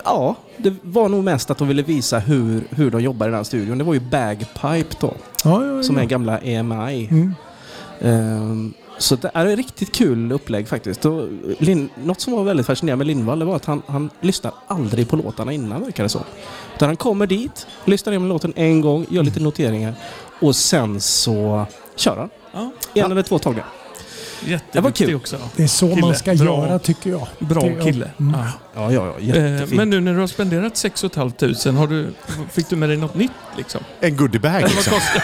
Speaker 5: ja, det var nog mest att de ville visa hur, hur de jobbar i den här studion. Det var ju Bagpipe då,
Speaker 1: Ja, ja, ja.
Speaker 5: som är gamla EMI.
Speaker 1: Mm.
Speaker 5: Ehm, så det är ett riktigt kul upplägg faktiskt. Och Lin, något som var väldigt fascinerande med Lindvall det var att han, han lyssnar aldrig på låtarna innan, verkar det som. Utan han kommer dit, lyssnar igenom låten en gång, gör
Speaker 4: Mm.
Speaker 5: lite noteringar och sen så kör han.
Speaker 4: Ja,
Speaker 5: En eller två tagningar. Det var
Speaker 4: jätteduktig
Speaker 5: kul.
Speaker 4: också.
Speaker 1: Det är så
Speaker 4: Kille.
Speaker 1: man ska
Speaker 4: Bra.
Speaker 1: göra tycker jag. Det-
Speaker 4: Bra
Speaker 1: ja.
Speaker 4: kille.
Speaker 1: Mm.
Speaker 4: Ja.
Speaker 5: Ja, ja, ja.
Speaker 4: Eh,
Speaker 5: Jättefint.
Speaker 4: Men nu när du har spenderat 6 500, har du, fick du med dig något nytt liksom?
Speaker 3: En goodiebag
Speaker 4: Vad
Speaker 3: liksom.
Speaker 4: kostade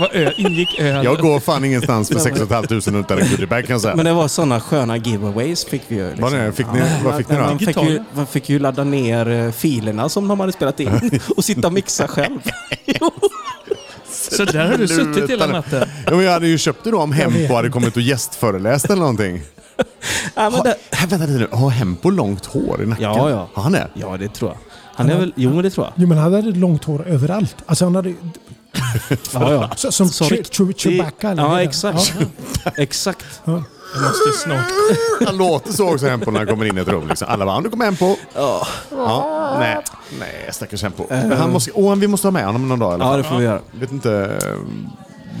Speaker 4: Vad ö, ingick öl?
Speaker 3: Jag går fan ingenstans med 6 500 utan en goodiebag kan jag säga.
Speaker 5: Men det var sådana sköna giveaways fick vi ju. liksom.
Speaker 3: Vad är det? Fick ni- vad fick ni då?
Speaker 5: Man fick, ju,
Speaker 4: Gitarren?
Speaker 5: man fick ju ladda ner eh, filerna som de hade spelat in och sitta och mixa själv.
Speaker 4: Så där har du suttit hela natten.
Speaker 3: Ja, men jag hade ju köpt det då om Hempo hade kommit och gästföreläst eller någonting.
Speaker 5: ja, men
Speaker 3: Ha,
Speaker 5: det,
Speaker 3: här, vänta lite nu. Har Hempo långt hår i nacken?
Speaker 5: Ja, ja.
Speaker 3: Har han det?
Speaker 5: ja, det tror jag. Han är väl, jo, men det tror jag.
Speaker 1: Jo, men han hade långt hår överallt. Alltså han hade...
Speaker 5: Ja, ja.
Speaker 1: Så, som
Speaker 5: Så
Speaker 1: Che-
Speaker 5: riktigt-
Speaker 1: Che- Chewbacca. eller vad
Speaker 5: Ja,
Speaker 1: det är.
Speaker 5: exakt. Exakt.
Speaker 4: Jag måste snart...
Speaker 3: Han låter så också Hempo när han kommer in i ett rum. Liksom. Alla bara, nu kommer Hempo. Ja. nej, nej, stackars Hempo. Men han måste, åh, vi måste ha med honom någon dag i alla
Speaker 5: Eh.
Speaker 3: fall.
Speaker 5: Ja, det får vi göra.
Speaker 3: Jag vet inte eh,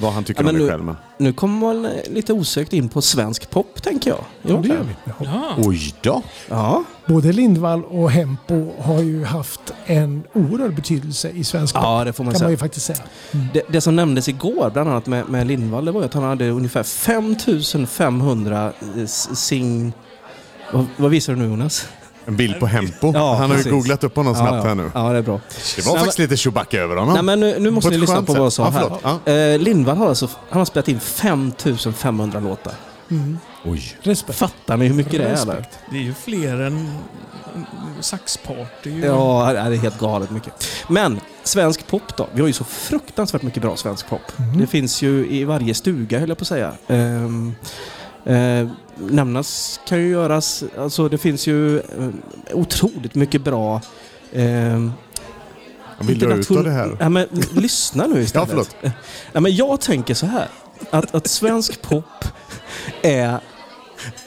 Speaker 3: vad han tycker
Speaker 5: Ja, men
Speaker 3: om det
Speaker 5: nu-
Speaker 3: själv. Men...
Speaker 5: Nu kommer man eh, lite osökt in på svensk pop, tänker jag.
Speaker 1: Ja, det gör vi. Ja.
Speaker 4: Ja.
Speaker 3: Oj då.
Speaker 5: Ja,
Speaker 1: Både Lindvall och Hempo har ju haft en oerhörd betydelse i svensk pop,
Speaker 5: ja det får man
Speaker 1: kan man ju
Speaker 5: säga.
Speaker 1: faktiskt säga.
Speaker 5: Det, det som nämndes igår, bland annat med, med Lindvall, det var ju att han hade ungefär 5500 eh, s- sing... Vad, vad visar du nu, Jonas?
Speaker 3: En bild på Hempo.
Speaker 5: Ja,
Speaker 3: han har ju
Speaker 5: precis.
Speaker 3: googlat upp honom snabbt
Speaker 5: ja,
Speaker 3: här nu.
Speaker 5: Ja, det är bra.
Speaker 3: Det var faktiskt lite Chewbacca över honom.
Speaker 5: Nej, men nu, nu måste
Speaker 3: På
Speaker 5: ni
Speaker 3: ett
Speaker 5: lyssna
Speaker 3: skönt
Speaker 5: på vad jag
Speaker 3: sätt.
Speaker 5: sa
Speaker 3: Ja,
Speaker 5: här.
Speaker 3: förlåt.
Speaker 5: Eh, Lindvall har alltså han har spelat in 5500 låtar.
Speaker 3: Oj.
Speaker 1: Respekt.
Speaker 5: Fattar ni hur mycket det är? Eller?
Speaker 1: Respekt.
Speaker 4: Det är ju fler än mm, saxparty. ju.
Speaker 5: Ja, det är helt galet mycket. Men svensk pop då? Vi har ju så fruktansvärt mycket bra svensk pop. Det finns ju i varje stuga, höll jag på att säga. Ehm, eh, nämnas kan ju göras. Alltså, det finns ju eh, otroligt mycket bra ehm,
Speaker 3: Vill du ha ut
Speaker 5: Internation-
Speaker 3: av det här?
Speaker 5: Nej, men lyssna nu
Speaker 3: Ja,
Speaker 5: istället.
Speaker 3: förlåt.
Speaker 5: Nej, men jag tänker så här. Att, att svensk pop är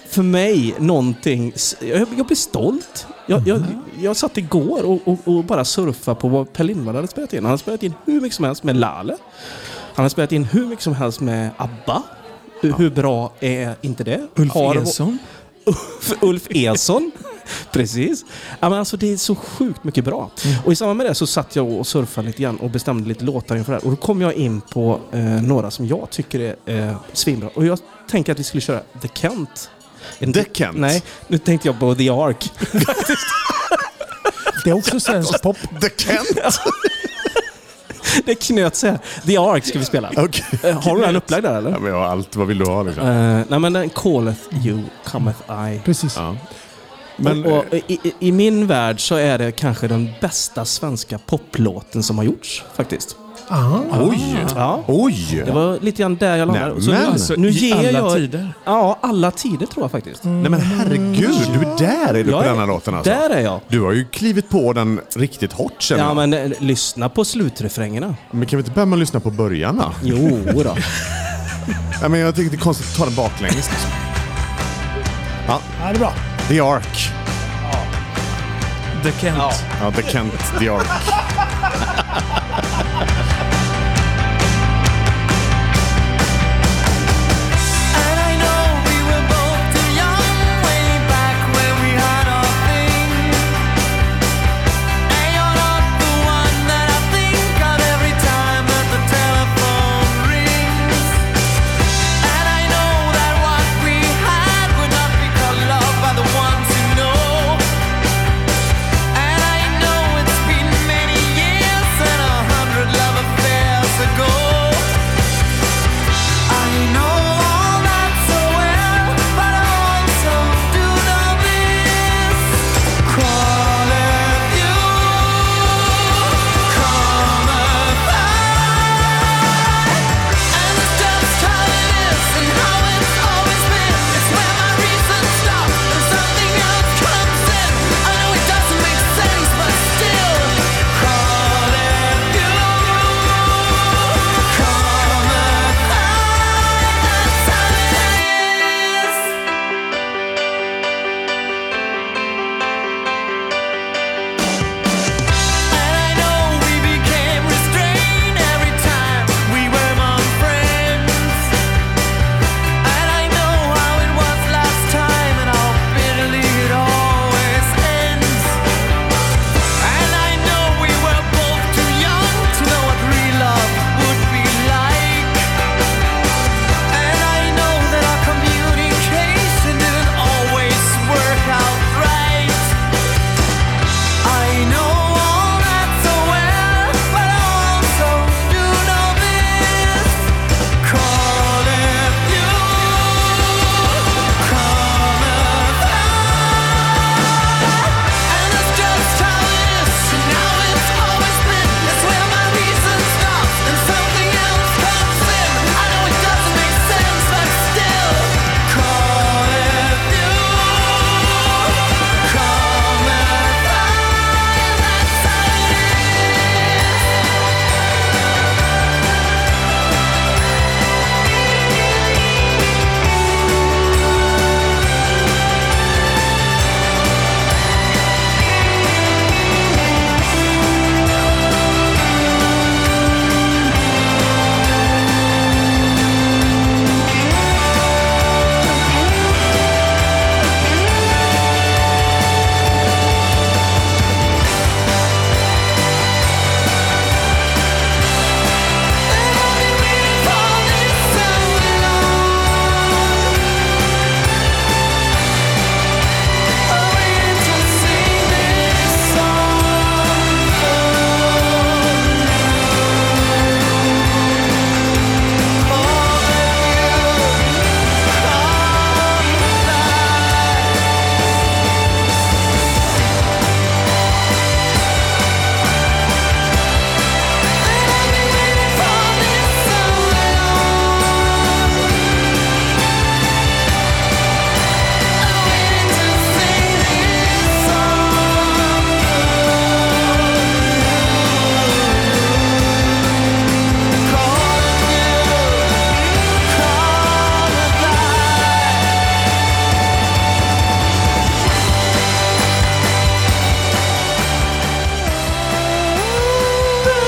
Speaker 5: för mig någonting... s- Jag, jag blir stolt. Jag, jag, jag satt igår och, och, och bara surfade på vad Per Lindvall hade spelat in. Han hade spelat in hur mycket som helst med Lale. Han har spelat in hur mycket som helst med ABBA. Hur, hur bra är inte det?
Speaker 4: Ulf
Speaker 5: Har-
Speaker 4: Eson.
Speaker 5: för Ulf Eson. Precis. Ja, men alltså, det är så sjukt mycket bra.
Speaker 3: Mm.
Speaker 5: Och i samband med det så satt jag och surfade lite grann och bestämde lite låtar inför det här. Och då kom jag in på eh, några som jag tycker är eh, svinbra. Och jag tänkte att vi skulle köra The Kent.
Speaker 3: The Kent?
Speaker 5: Nej, nu tänkte jag på The Ark.
Speaker 1: Det är också svensk pop.
Speaker 3: The Kent?
Speaker 5: Det knöt sig. The Ark ska vi spela.
Speaker 3: Okej.
Speaker 5: Eh, har du den upplagd där eller?
Speaker 3: Ja, men jag har allt. Vad vill du ha liksom?
Speaker 5: Eh, nej men den calleth you, cometh I.
Speaker 1: Precis.
Speaker 3: Ja. Men,
Speaker 5: och, och, i, i- I min värld så är det kanske den bästa svenska poplåten som har gjorts faktiskt.
Speaker 1: Aha.
Speaker 3: Oj!
Speaker 5: Ja.
Speaker 3: Oj!
Speaker 5: Det var lite grann där jag landade.
Speaker 3: Nej,
Speaker 5: Så nu,
Speaker 3: men-
Speaker 4: Alltså,
Speaker 5: nu
Speaker 4: i
Speaker 5: ger
Speaker 4: alla
Speaker 5: jag...
Speaker 4: tider.
Speaker 5: Ja, alla tider tror jag faktiskt.
Speaker 3: Nej men herregud, du där är du
Speaker 5: Jag
Speaker 3: på
Speaker 5: är-
Speaker 3: denna låten alltså.
Speaker 5: Där är jag.
Speaker 3: Du har ju klivit på den riktigt hårt känner
Speaker 5: Ja,
Speaker 3: jag.
Speaker 5: men eh, lyssna på slutrefrängerna.
Speaker 3: Men kan vi inte börja med att lyssna på början då?
Speaker 5: Jo då.
Speaker 3: Nej, men jag tycker det är konstigt att ta den baklänges. liksom. Ja,
Speaker 1: Ja, det är bra.
Speaker 3: The Ark.
Speaker 4: The Kent.
Speaker 3: Ja, The Kent, The Ark.
Speaker 6: And I know we were both too young way back when we had our thing. And you're not the one that I think of every time that the telephone rings. And I know that what we had would not be called love by the ones who know. And I know it's been many years and a hundred love affairs ago. I know all that so well, but I also do know this. Call if you come and it's just how it is and how it's always been. It's where my reason stops and something else comes in. I know it doesn't make sense, but still, call if you Call and I know we were both too young to know what real love would be like. And I know that our communication didn't always work out right. I know all that so well, but I also do know this. Call if you come and it's just how it is, and how it's always been. It's where my reason stops, and something else comes in. I know it doesn't make sense, but still, call it you. Call me that's how it is.
Speaker 7: Oh,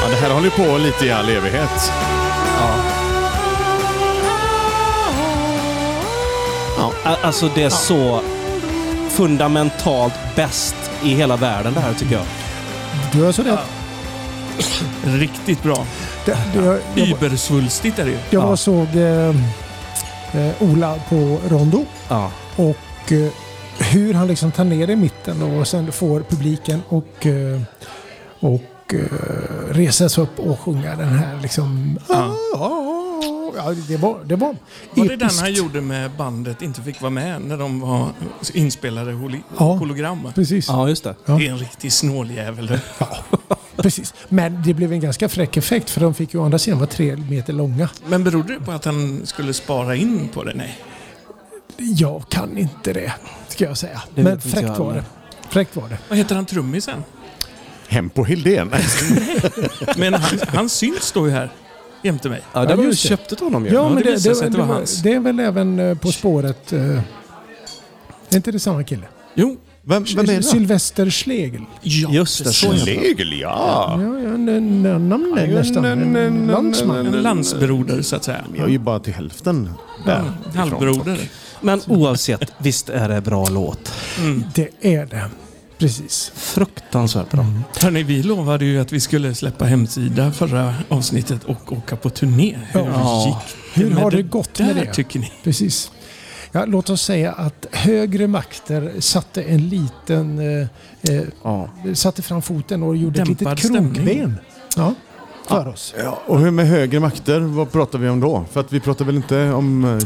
Speaker 3: Ja, det här håller ju på lite i all evighet.
Speaker 5: A- Alltså det är så fundamentalt bäst i hela världen det här tycker jag.
Speaker 1: Du har så rätt.
Speaker 4: Riktigt bra.
Speaker 1: Det, det, jag, jag,
Speaker 4: Ybersvulstigt är det ju.
Speaker 1: jag
Speaker 5: Ja.
Speaker 1: var såg eh, eh, Ola på Rondo
Speaker 5: Ja.
Speaker 1: och eh, hur han liksom tar ner det i mitten och sen får publiken och, eh, och eh, reser sig upp och sjunga den här liksom... Ja. Ja, det var, det var,
Speaker 4: Var det den
Speaker 1: episkt.
Speaker 4: han gjorde med bandet inte fick vara med när de var inspelade holi-
Speaker 1: Ja.
Speaker 4: hologram?
Speaker 1: Precis.
Speaker 5: ja, just det.
Speaker 1: Ja.
Speaker 4: Det är en riktig snåljävel. det.
Speaker 1: Precis. Men det blev en ganska fräck effekt för de fick ju å andra sidan vara tre meter långa.
Speaker 4: Men berodde det på att han skulle spara in på det? Nej.
Speaker 1: Jag kan inte det, ska jag säga.
Speaker 5: Det
Speaker 1: Men
Speaker 5: vet inte
Speaker 1: fräckt var
Speaker 5: jag
Speaker 1: det.
Speaker 5: heller.
Speaker 1: Fräckt var det.
Speaker 4: Vad heter han trummisen?
Speaker 3: Hem på Hildén.
Speaker 4: Men han, han syns då ju här jämte mig.
Speaker 5: Ja, där var ju
Speaker 1: just det.
Speaker 5: köptet honom ju.
Speaker 1: Ja, men
Speaker 4: det
Speaker 1: det,
Speaker 4: visade
Speaker 1: det, det,
Speaker 4: sig att det
Speaker 1: det,
Speaker 4: var
Speaker 1: var,
Speaker 4: hans.
Speaker 1: det är väl även eh, På spåret... eh, Är inte det samma kille?
Speaker 4: Jo.
Speaker 3: Vem, vem är det?
Speaker 1: Sylvester Schlegel.
Speaker 4: Ja,
Speaker 5: Just det, så
Speaker 4: precis.
Speaker 3: Schlegel, ja.
Speaker 1: Ja, ja, n- n- namn
Speaker 3: Ja,
Speaker 1: är nästan.
Speaker 3: n- n-
Speaker 1: En
Speaker 3: n-
Speaker 1: Landsman.
Speaker 4: En landsbroder så att säga.
Speaker 3: Jag är ju bara till hälften där.
Speaker 4: Ja, halvbroder.
Speaker 5: Men oavsett, visst är det bra låt.
Speaker 1: Det är det. Precis.
Speaker 5: Fruktansvärt bra.
Speaker 4: Hörni, vi lovade ju att vi skulle släppa hemsida förra avsnittet och åka på turné. Hur
Speaker 1: Ja.
Speaker 4: gick
Speaker 1: Hur
Speaker 4: med
Speaker 1: har det gått med
Speaker 4: där,
Speaker 1: det?
Speaker 4: tycker ni?
Speaker 1: Precis. Ja, låt oss säga att högre makter satte en liten... eh, Eh,
Speaker 5: Ja.
Speaker 1: satte fram foten och gjorde ett
Speaker 4: Dämpad
Speaker 1: litet
Speaker 4: stämning.
Speaker 1: krokben. Ja, för oss.
Speaker 3: Ja, och hur med högre makter? Vad pratar vi om då? För att vi pratar väl inte om... eh,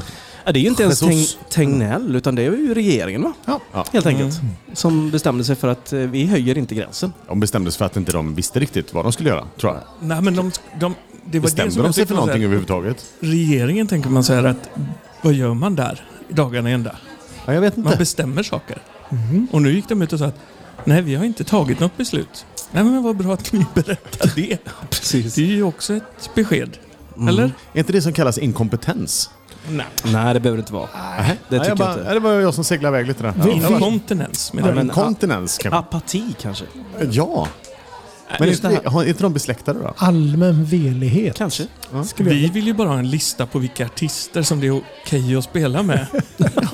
Speaker 5: Ja, det är ju inte ens Teng
Speaker 3: Jesus.
Speaker 5: Tegnell, utan det är ju regeringen va?
Speaker 1: Ja.
Speaker 5: Helt enkelt. Som bestämde sig för att eh, vi höjer inte gränsen.
Speaker 3: De bestämdes för att inte de visste riktigt vad de skulle göra, tror jag.
Speaker 4: Nej, men de, de, det var det
Speaker 3: Bestämde
Speaker 4: som
Speaker 3: de
Speaker 4: jag
Speaker 3: sig för
Speaker 4: tyckte var så
Speaker 3: någonting
Speaker 4: här,
Speaker 3: överhuvudtaget?
Speaker 4: Regeringen tänker man så här att vad gör man där dagarna i ända?
Speaker 3: Ja, jag vet
Speaker 4: Man
Speaker 3: inte.
Speaker 4: bestämmer saker.
Speaker 1: Mhm.
Speaker 4: Och nu gick de ut och sa att nej, vi har inte tagit något beslut. Nej, men vad bra att ni berättar det.
Speaker 5: Precis.
Speaker 4: Det är ju också ett besked.
Speaker 1: Mm.
Speaker 4: Eller?
Speaker 3: Är inte det som kallas inkompetens?
Speaker 4: Nej.
Speaker 5: Nej, det behöver det inte vara.
Speaker 3: Nej,
Speaker 5: det tycker
Speaker 3: jag bara,
Speaker 5: jag inte.
Speaker 3: ja, Det var jag som seglade iväg lite där.
Speaker 1: Vi-
Speaker 3: Ja.
Speaker 4: Inkontinens menar
Speaker 5: Ja,
Speaker 4: jag.
Speaker 5: men-
Speaker 3: Inkontinens kanske?
Speaker 5: Apati kanske?
Speaker 3: Ja. Men
Speaker 5: just
Speaker 3: är
Speaker 5: det
Speaker 3: inte, har- är inte de besläktade då?
Speaker 1: Allmän velighet.
Speaker 5: Kanske.
Speaker 1: Skulle jag-
Speaker 4: Vi vill ju bara ha en lista på vilka artister som det är okej att spela med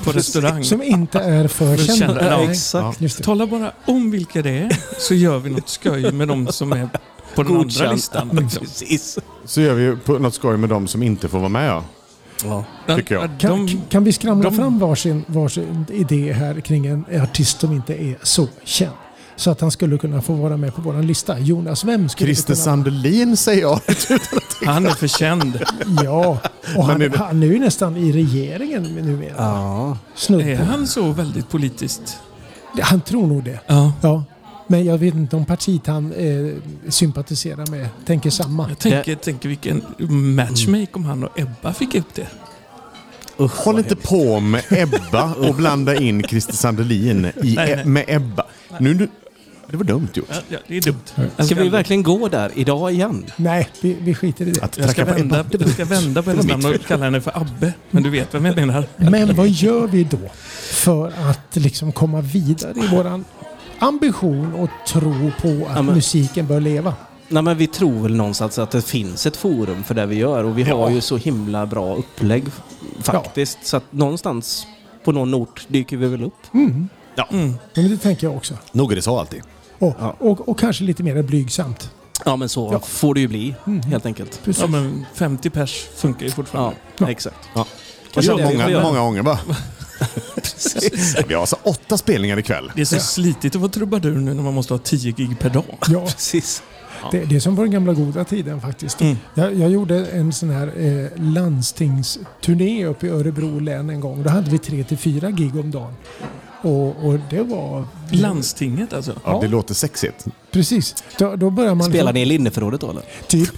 Speaker 4: på restaurang.
Speaker 1: Som inte är för
Speaker 4: För
Speaker 1: kända.
Speaker 4: kända, ja.
Speaker 1: Nej,
Speaker 5: Exakt.
Speaker 1: Just det.
Speaker 4: Tala bara om vilka det är så gör vi något skoj med de som är på den andra
Speaker 5: Godkänd.
Speaker 4: listan. Liksom.
Speaker 5: Precis.
Speaker 3: Så gör vi ju på något skoj med de som inte får vara med. Ja.
Speaker 5: Ja.
Speaker 3: Tycker jag.
Speaker 1: Kan,
Speaker 4: De,
Speaker 1: kan vi skramla
Speaker 4: de-
Speaker 1: fram varsin, varsin idé här kring en artist som inte är så känd? Så att han skulle kunna få vara med på vår lista. Jonas, vem skulle
Speaker 3: Christer
Speaker 1: det kunna
Speaker 3: Sandelin säger jag.
Speaker 4: han är för känd.
Speaker 1: Ja, och han,
Speaker 3: Men nu-
Speaker 1: han är ju nästan i regeringen numera.
Speaker 5: Ja.
Speaker 1: Snudd
Speaker 4: Är
Speaker 1: på.
Speaker 4: han så väldigt politiskt?
Speaker 1: Han tror nog det.
Speaker 4: Ja.
Speaker 1: Ja. Men jag vet inte om partiet han eh, sympatiserar med tänker samma.
Speaker 4: Jag tänker, tänker vilken matchmake om han och Ebba fick upp det.
Speaker 5: Usch,
Speaker 3: Håll
Speaker 5: vad
Speaker 3: inte
Speaker 5: hemskt.
Speaker 3: på med Ebba och blanda in Christer Sandelin i, E-
Speaker 4: Nej, nej.
Speaker 3: med Ebba. Nu, nu, det var dumt gjort.
Speaker 4: Ja, det är dumt. Jag
Speaker 5: Ska vi verkligen gå där idag igen?
Speaker 1: Nej, vi, vi skiter i det.
Speaker 3: Att
Speaker 4: jag ska,
Speaker 3: tracka på Ebba.
Speaker 4: vända, jag ska vända på hennes
Speaker 3: Det var mitt
Speaker 4: namn och kalla henne för Abbe. Men du vet vem jag menar.
Speaker 1: Men vad gör vi då för att liksom komma vidare i våran ambition och tro på att
Speaker 5: Ja, men-
Speaker 1: musiken bör leva?
Speaker 5: Nej, men vi tror väl någonstans att det finns ett forum för det vi gör och vi har ju så himla bra upplägg faktiskt. Så att någonstans på någon ort dyker vi väl upp.
Speaker 3: Mm.
Speaker 1: Men det tänker jag också.
Speaker 3: Nog är det så alltid.
Speaker 1: Och, och, och kanske lite mer blygsamt.
Speaker 5: Ja, Mm. men så
Speaker 1: Ja.
Speaker 5: får det ju bli helt enkelt.
Speaker 1: Precis.
Speaker 4: Ja, men 50 pers funkar ju
Speaker 5: Ja,
Speaker 4: fortfarande.
Speaker 5: exakt.
Speaker 3: Ja.
Speaker 5: Och så-
Speaker 3: Ja, många,
Speaker 5: Ja.
Speaker 3: många gånger bara. Vi har alltså åtta spelningar ikväll.
Speaker 4: Det är så slitigt att vara trubadur nu när man måste ha 10 gig per dag.
Speaker 1: Ja,
Speaker 5: Precis.
Speaker 1: det, det är som var den gamla goda tiden faktiskt.
Speaker 5: Mm.
Speaker 1: Jag, jag gjorde en sån här eh, landstingsturné uppe i Örebro län en gång. Då hade vi tre till fyra gig om dagen. Och, och det var...
Speaker 4: Landstinget alltså.
Speaker 3: Ja, det låter sexigt.
Speaker 1: Precis. Då, då börjar man...
Speaker 5: Spelar ni i Linneförrådet då eller?
Speaker 1: Typ.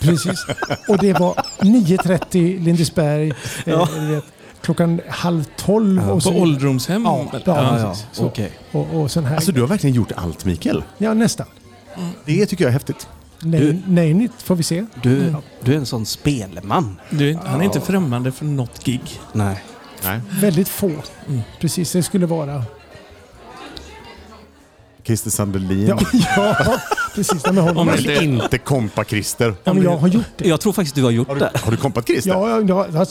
Speaker 1: Precis. Och det var 9.30 Lindesberg.
Speaker 5: Ja.
Speaker 1: Eh, du vet, klockan halv tolv. och
Speaker 4: På
Speaker 1: så
Speaker 4: ålderdomshem?
Speaker 1: Ja, ja,
Speaker 4: Ja.
Speaker 1: precis. Så.
Speaker 5: okej.
Speaker 1: Och, och sån här.
Speaker 3: Alltså du har verkligen gjort allt Mikael.
Speaker 1: Ja, nästan.
Speaker 3: Det tycker jag är häftigt.
Speaker 1: Nej, nej, nytt får vi se.
Speaker 5: Du, du är en sån spelman.
Speaker 4: Du, är- han är inte främmande för något gig.
Speaker 5: Nej.
Speaker 3: Nej.
Speaker 1: Väldigt få.
Speaker 4: Mm.
Speaker 1: Precis, det skulle vara...
Speaker 3: Christer Sandelin.
Speaker 1: Ja, ja precis. Nej, men
Speaker 4: Mm. Om
Speaker 1: honom.
Speaker 4: det
Speaker 3: Vill
Speaker 4: inte är
Speaker 3: inte kompa Christer.
Speaker 1: Ja, men jag har gjort det.
Speaker 5: Jag tror faktiskt du har gjort
Speaker 3: Har du,
Speaker 5: det.
Speaker 3: har du kompat Christer?
Speaker 1: Ja, jag, jag, jag,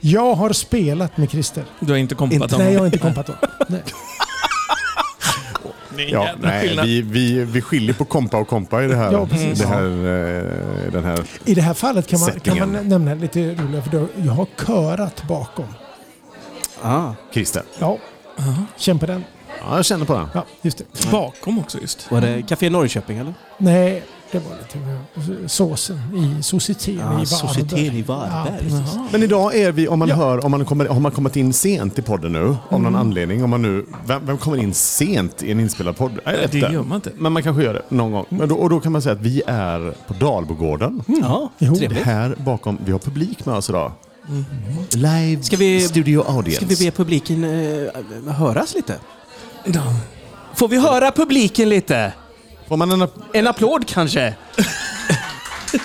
Speaker 1: jag har spelat med Christer.
Speaker 4: Du har inte kompat
Speaker 1: Nej, jag har
Speaker 4: honom?
Speaker 1: inte kompat honom. Nej.
Speaker 4: Det är en
Speaker 3: Ja,
Speaker 4: jävla
Speaker 3: nej,
Speaker 4: skillnad.
Speaker 3: vi, vi, vi skiljer på kompa och kompa i det här.
Speaker 1: Ja, precis.
Speaker 3: det här, eh, den här.
Speaker 1: I det här fallet kan man, kan man
Speaker 3: Sättningen.
Speaker 1: nämna lite roligare, för då- jag har körat bakom.
Speaker 5: Ah,
Speaker 3: Christer.
Speaker 1: Ja, känn på den.
Speaker 3: Ja, jag känner på den.
Speaker 1: Ja, just det.
Speaker 4: Bakom också just.
Speaker 5: var det Café Norrköping eller?
Speaker 1: Nej, Det var lite med såsen i societeten i
Speaker 5: Ah,
Speaker 1: Varberg.
Speaker 5: Societeten i Varberg. Mm.
Speaker 1: Ja,
Speaker 5: precis.
Speaker 3: Men idag är vi, om man hör, om man kommer, har man kommit in sent i podden nu, av någon anledning. Om man nu, vem, vem kommer in sent i en inspelad podd? Jag vet
Speaker 4: Det
Speaker 3: inte.
Speaker 4: gör man inte.
Speaker 3: Men man kanske gör det någon gång. Men då, och då kan man säga att vi är på Dalbogården.
Speaker 5: Ja,
Speaker 1: Jo,
Speaker 3: Det
Speaker 5: trevligt.
Speaker 3: här bakom, vi har publik med oss idag. Live
Speaker 5: Ska vi-
Speaker 3: studio audience.
Speaker 5: Ska vi be publiken eh, höras lite? Får vi höra publiken lite?
Speaker 3: Får man en app-
Speaker 5: En applåd kanske?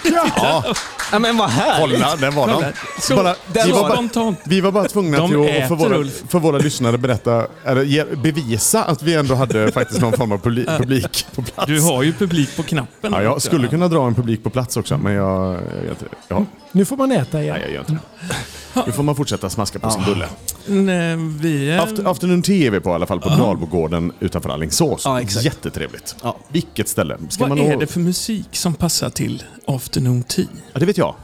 Speaker 3: Ja,
Speaker 5: Ja, men vad härligt.
Speaker 3: kolla, där var de.
Speaker 4: Så,
Speaker 3: Bara,
Speaker 4: där
Speaker 3: vi, var
Speaker 4: var
Speaker 3: bara,
Speaker 4: spontant.
Speaker 3: vi var bara tvungna
Speaker 4: De
Speaker 3: till att
Speaker 4: äter,
Speaker 3: för våra,
Speaker 4: Ulf.
Speaker 3: för våra lyssnare berätta, eller ge- bevisa att vi ändå hade faktiskt någon form av publi- publik på plats.
Speaker 4: Du har ju publik på knappen.
Speaker 3: Ja, jag skulle kunna dra en publik på plats också, men jag... jag, vet inte. ja,
Speaker 1: Nu får man äta igen.
Speaker 3: nej, jag gör inte det. Nu får man fortsätta smaska på sin bulle.
Speaker 4: Nej, eh, vi är...
Speaker 3: After, afternoon Tea är vi på i alla fall, på Dalbogården utanför Alingsås.
Speaker 5: Ja, exakt.
Speaker 3: Jättetrevligt.
Speaker 5: Ja.
Speaker 3: Vilket ställe. Ska
Speaker 4: Vad
Speaker 3: man
Speaker 4: är
Speaker 3: nå-
Speaker 4: det för musik som passar till afternoon tea?
Speaker 3: Ja, det vet jag.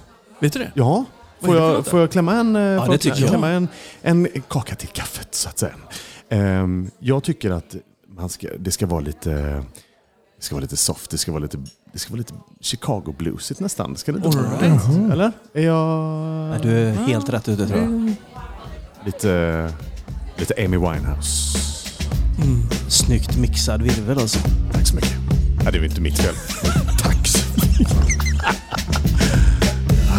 Speaker 4: Vet du det?
Speaker 3: Ja. Får
Speaker 4: är det för
Speaker 3: jag,
Speaker 4: något då?
Speaker 3: får jag klämma en, eh, får
Speaker 5: det
Speaker 3: jag
Speaker 5: tycker
Speaker 3: klä-
Speaker 5: jag.
Speaker 3: klämma en, en kaka till kaffet, så att säga? Ehm, jag tycker att man ska, det ska vara lite... Det ska vara lite soft, det ska vara lite, det ska vara lite Chicago-bluesigt nästan. Ska det inte vara
Speaker 4: All right.
Speaker 3: det? Eller? Är
Speaker 5: Nej,
Speaker 3: jag
Speaker 5: Du är helt rätt ute tror jag.
Speaker 3: lite, lite Amy Winehouse?
Speaker 5: Snyggt mixad virvel alltså.
Speaker 3: Tack så mycket. Ja, det är ju inte mitt fel. Tack.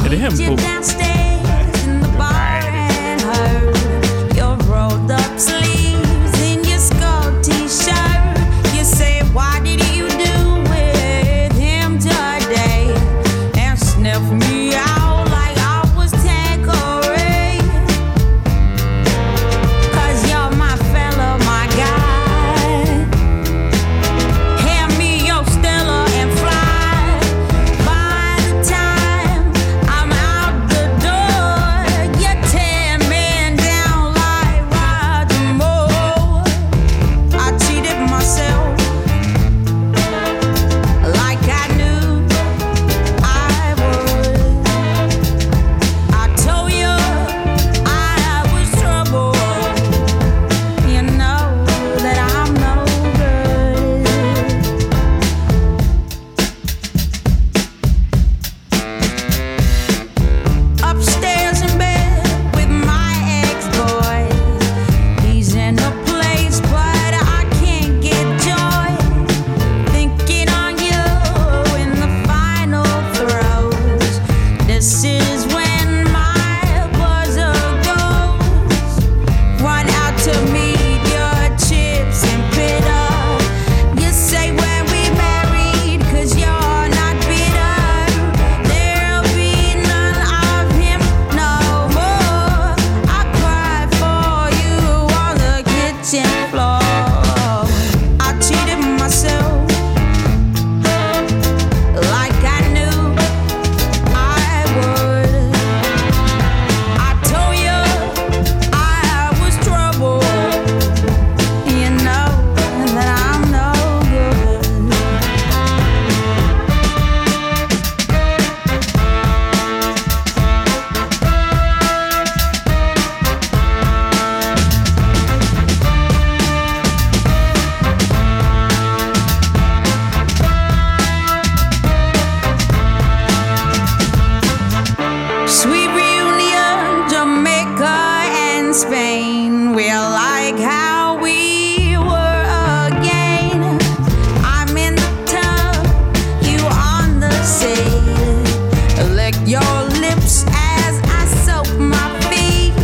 Speaker 4: Är det hembo?
Speaker 7: downstairs in the bar and heard your rolled up sleeves in your skull t-shirt. You say, why did you do with him today? And sniff me out like I was Tanqueray. Cause you're my fella, my guy. Hand me your Stella and fly. By the time I'm out the door, you're ten men down like Roger Moore. I cheated myself like I knew I would. I told you I was trouble. You know that I'm no good. Upstairs in bed with my ex-boy. He's in a place, but I can't get joy. Thinking on you in the final throes. This is when my buzzer goes run out to meet your chips and bitter. You say when we married, cause you're not bitter. There'll be none of him no more. I cried for you on the kitchen floor. I cheated myself like I knew I would. I told you I was trouble. You know that I'm no good. Sweet reunion, Jamaica and Spain. We're like how we were again. I'm in the tub, you on the sea. Lick your lips as I soak my feet.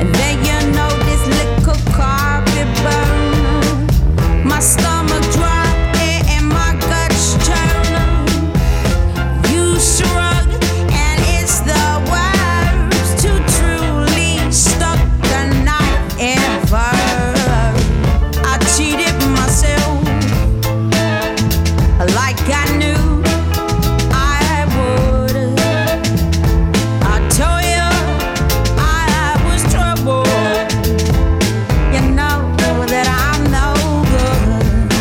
Speaker 7: And then you know this little carpet burn. My stomach drop and my guts churn. You shrug, and it's the words to truly stuck the knife in fur. I cheated myself like I knew I would. I told you I was trouble. You know that I'm no good.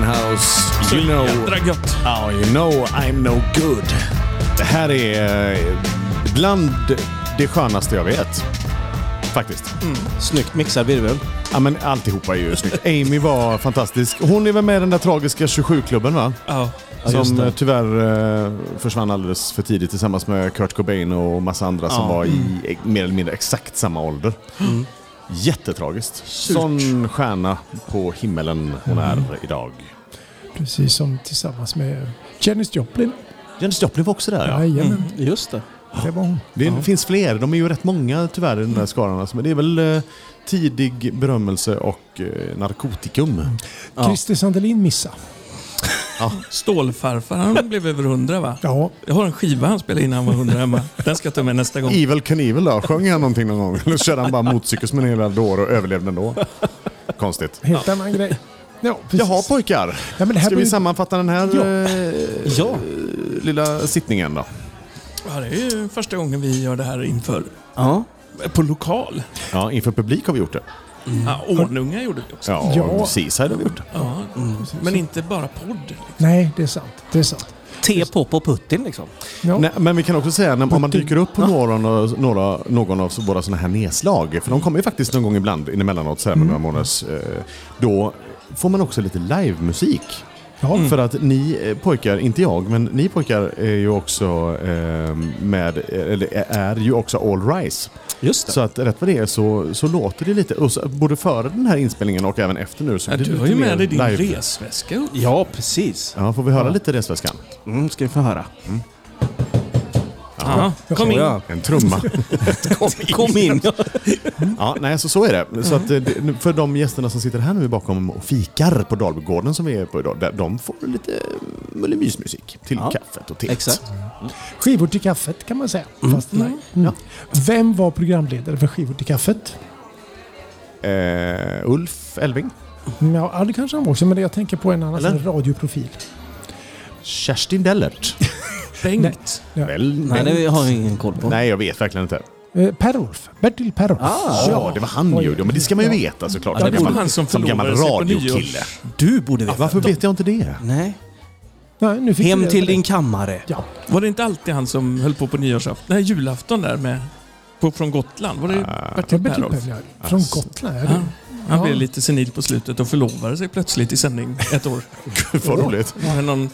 Speaker 3: know...
Speaker 4: Jädra gött.
Speaker 3: Oh, you know I'm no good. Det här är eh, bland det skönaste jag vet. Faktiskt.
Speaker 5: Snyggt mixad virvel.
Speaker 3: Ja, men alltihopa är ju snyggt. Amy var fantastisk. Hon är väl med i den där tragiska 27-klubben va?
Speaker 4: Ja.
Speaker 3: som eh, tyvärr eh, försvann alldeles för tidigt tillsammans med Kurt Cobain och massa andra som var i eh, mer eller mindre exakt samma ålder. Mm. Jättetragiskt. Sån stjärna på himmelen hon är idag.
Speaker 1: Precis som tillsammans med Janis Joplin.
Speaker 3: Janis Joplin var också där ja.
Speaker 1: Jajamän,
Speaker 5: Just det.
Speaker 1: det var hon.
Speaker 3: Det finns fler. De är ju rätt många tyvärr i den här skaran. alltså. Men det är väl eh, tidig berömmelse och eh, narkotikum.
Speaker 1: Mm. Christer Sandelin missa.
Speaker 4: Stålfarfar, han blev över 100 va?
Speaker 1: Ja,
Speaker 4: Jag har en skiva han spelade innan han var 100 hemma. Den ska jag ta med nästa gång.
Speaker 3: Evil Knievel då? Sjöng han någonting någon gång? Eller körde han bara motorcykel som en hel dår och överlevde ändå? Konstigt.
Speaker 1: helt annan grej. Ja, precis.
Speaker 3: Jaha pojkar.
Speaker 1: Ja, men det här
Speaker 3: Ska vi
Speaker 1: blir-
Speaker 3: sammanfatta den här
Speaker 1: Ja.
Speaker 3: eh,
Speaker 5: Ja.
Speaker 3: lilla sittningen då?
Speaker 4: Ja, det är ju första gången vi gör det här inför.
Speaker 5: Ja.
Speaker 4: På lokal.
Speaker 3: Ja, inför publik har vi gjort det.
Speaker 4: Ja, Ornunga gjorde vi också.
Speaker 3: Ja,
Speaker 1: Ja.
Speaker 3: och Seaside har vi gjort det.
Speaker 4: Ja.
Speaker 3: Mm.
Speaker 4: Men inte bara podd.
Speaker 1: Nej, det är sant. Det är sant.
Speaker 5: Te, pop och Putin liksom.
Speaker 1: Ja.
Speaker 3: Nej, men vi kan också säga när, om man dyker upp på någon, av- några, någon av våra sådana här nedslag, för de kommer ju faktiskt någon gång ibland in emellanåt så här med
Speaker 4: Mm.
Speaker 3: några månaders, eh, då får man också lite livemusik.
Speaker 1: Ja.
Speaker 4: Mm.
Speaker 3: För att ni eh, pojkar, inte jag, men ni pojkar är ju också eh, med, eller är ju också All Rise.
Speaker 5: Just
Speaker 3: Så att rätt vad det är så, så låter det lite, och så, både före den här inspelningen och även efter nu. Så
Speaker 4: Ja,
Speaker 3: blir det
Speaker 4: du har ju
Speaker 3: lite
Speaker 4: med
Speaker 3: mer
Speaker 4: dig din
Speaker 3: live.
Speaker 4: resväska upp.
Speaker 5: Ja, precis.
Speaker 3: Ja, får vi höra lite resväskan?
Speaker 5: Mm, ska vi få höra.
Speaker 4: Ja. Kom in.
Speaker 5: Ja.
Speaker 3: En trumma.
Speaker 5: Kom in.
Speaker 3: Ja, nej, så, så är det. Så att, eh, det- för de gästerna som sitter här nu bakom och fikar på Dalbygården som vi är på idag, där- de får lite eh, mullemysmusik till
Speaker 5: Ja.
Speaker 3: kaffet och teet.
Speaker 5: Exakt.
Speaker 1: Skivor till kaffet kan man säga. Fast nej. Ja. Vem var programledare för Skivor till kaffet?
Speaker 3: Eh, Ulf Elving,
Speaker 1: Ja, ja, det kanske han var också, men jag tänker på en annan
Speaker 3: Eller?
Speaker 1: sån här radioprofil.
Speaker 3: Kerstin Dellert.
Speaker 4: Bengt.
Speaker 3: Väl,
Speaker 5: Nej,
Speaker 3: väl.
Speaker 5: det har jag ingen koll på.
Speaker 3: nej, jag vet verkligen inte.
Speaker 1: Eh, Per-Ulf. Bertil Per-Ulf.
Speaker 5: Ah.
Speaker 3: Ja, det var han ju. Ja, Men det ska man ju
Speaker 1: Ja.
Speaker 3: veta såklart.
Speaker 4: Ja, det
Speaker 3: Som
Speaker 4: borde
Speaker 3: gammal-
Speaker 4: han som
Speaker 3: gammal
Speaker 4: förlovade sig på
Speaker 3: radiokille.
Speaker 4: nyårs-
Speaker 5: Du borde veta.
Speaker 3: Varför vet jag inte det?
Speaker 5: Nej.
Speaker 1: Nej, nu fick
Speaker 5: Hem
Speaker 1: vi-
Speaker 5: till din kammare.
Speaker 1: Ja.
Speaker 4: Var det inte alltid han som höll på på nyårsafton? Nej, julafton där med... På, från Gotland. Var det
Speaker 1: Ja,
Speaker 4: Bertil
Speaker 1: Bertil
Speaker 4: Perolf?
Speaker 1: Per-Ulf. Från Gotland. Ja.
Speaker 4: Ja. Han
Speaker 1: Ah. Ja.
Speaker 4: blev lite senil på slutet och förlovade sig plötsligt i sändning ett år.
Speaker 3: Gud, vad roligt.
Speaker 4: Med någon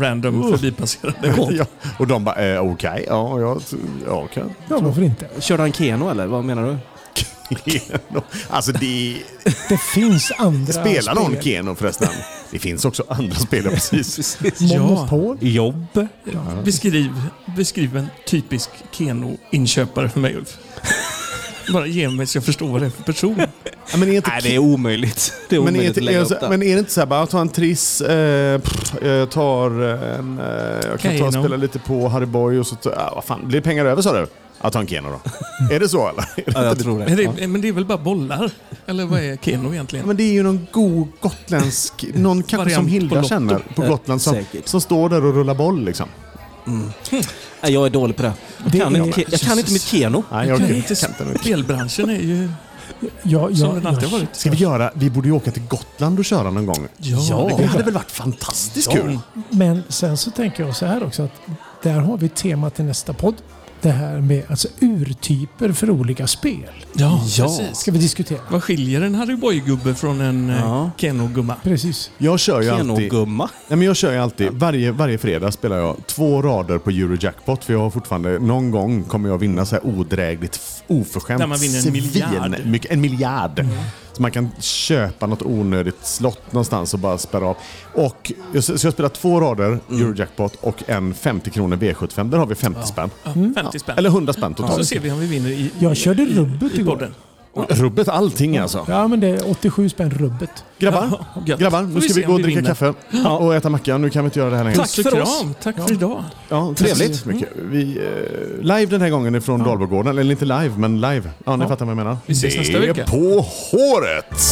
Speaker 4: random förbipasserande.
Speaker 3: Ja. Och de bara, eh, okej, ja, jag, jag kan.
Speaker 1: Ja, varför inte?
Speaker 5: Körde han Keno eller? Vad menar du?
Speaker 3: Keno. Alltså det
Speaker 1: Det finns andra
Speaker 3: spelar någon
Speaker 1: spel.
Speaker 3: Keno förresten. Det finns också andra spelare precis.
Speaker 1: Monopol.
Speaker 5: Jobb.
Speaker 4: Beskriv, beskriv en typisk Keno-inköpare för mig, Ulf. Bara ge mig så jag förstår vad det är för person.
Speaker 3: Ja, men är inte
Speaker 5: Nej, det är omöjligt. Det är
Speaker 3: men är,
Speaker 5: omöjligt
Speaker 3: inte,
Speaker 5: att lägga
Speaker 3: är,
Speaker 5: upp
Speaker 3: så-
Speaker 5: det.
Speaker 3: men är det inte så här bara, ta en Triss, eh, pff, jag tar en... Eh, jag kan ta och
Speaker 4: Keno.
Speaker 3: spela lite på Harry Boy och så... ta- Ah, vad fan, blir det pengar över sa du? Ja, ta en Keno då. är det så eller? Är det
Speaker 5: Ja, jag
Speaker 3: inte-
Speaker 5: tror det.
Speaker 4: Men det, men det är väl bara bollar? Eller vad är Keno egentligen?
Speaker 3: Men det är ju någon god gotländsk, någon kanske
Speaker 4: Variant
Speaker 3: som
Speaker 4: på
Speaker 3: Hilda
Speaker 4: Lotto.
Speaker 3: känner på
Speaker 5: Eh,
Speaker 3: Gotland som,
Speaker 5: säkert.
Speaker 3: som står där och rullar boll liksom.
Speaker 5: Nej, jag är dålig på det. Jag,
Speaker 1: Det
Speaker 5: kan,
Speaker 1: är-
Speaker 5: inte, jag kan inte mitt Keno.
Speaker 3: Nej,
Speaker 4: Jag
Speaker 3: jag
Speaker 4: kan
Speaker 3: kan
Speaker 4: inte-
Speaker 3: inte.
Speaker 4: Spelbranschen är ju
Speaker 1: Ja, ja,
Speaker 4: som den alltid har
Speaker 1: ja.
Speaker 4: varit.
Speaker 3: Ska vi göra, vi borde ju åka till Gotland och köra någon gång.
Speaker 5: Ja.
Speaker 3: Det hade väl varit fantastiskt kul?
Speaker 1: Men sen så tänker jag så här också att där har vi temat i nästa podd. Det här med alltså urtyper för olika spel.
Speaker 4: Ja,
Speaker 5: Ja.
Speaker 4: precis.
Speaker 1: Ska vi diskutera.
Speaker 4: Vad skiljer en Harry Boy-gubbe från en
Speaker 5: Ja.
Speaker 4: ja. Keno-gumma?
Speaker 1: Precis.
Speaker 3: Jag kör ju alltid...
Speaker 5: Keno-gumma.
Speaker 3: Nej, men jag kör ju alltid, varje, varje fredag spelar jag två rader på Eurojackpot för jag har fortfarande, någon gång kommer jag vinna så här odrägligt, f- oförskämt
Speaker 4: Där man vinner en miljard. Mm.
Speaker 3: svin- Mycket, en miljard. Så man kan köpa något onödigt slott någonstans och bara spärra av. Och, så så jag spelar två rader Eurojackpot och en 50 kronor V75. Där har vi 50 spänn.
Speaker 4: Ja, 50 spänn.
Speaker 3: Mm. Eller 100 spänn totalt.
Speaker 4: Så ser vi om vi vinner i,
Speaker 1: Jag körde rubbet
Speaker 4: i
Speaker 1: igår.
Speaker 4: podden.
Speaker 3: Rubbet allting alltså.
Speaker 1: Ja, men det är 87 spänn rubbet.
Speaker 3: Grabbar,
Speaker 4: Ja, gött.
Speaker 3: grabbar nu
Speaker 4: Får vi
Speaker 3: ska vi
Speaker 4: se
Speaker 3: gå
Speaker 4: om
Speaker 3: och
Speaker 4: vi
Speaker 3: dricka
Speaker 4: vinner.
Speaker 3: kaffe och äta macka. Nu kan vi inte göra det här längre.
Speaker 4: Tack för
Speaker 5: för
Speaker 4: kram.
Speaker 5: oss.
Speaker 4: Tack för idag.
Speaker 3: Ja, trevligt. Så mycket. Vi, eh, live den här gången ifrån Dalbogården. Eller inte live, men live. Ja, ni fattar vad jag menar. Vi
Speaker 4: ses nästa
Speaker 3: Det är
Speaker 4: vecka.
Speaker 3: på håret!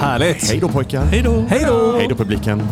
Speaker 5: Härligt.
Speaker 3: Hej då pojkar.
Speaker 4: Hej då.
Speaker 5: Hej då!
Speaker 3: Hej då publiken.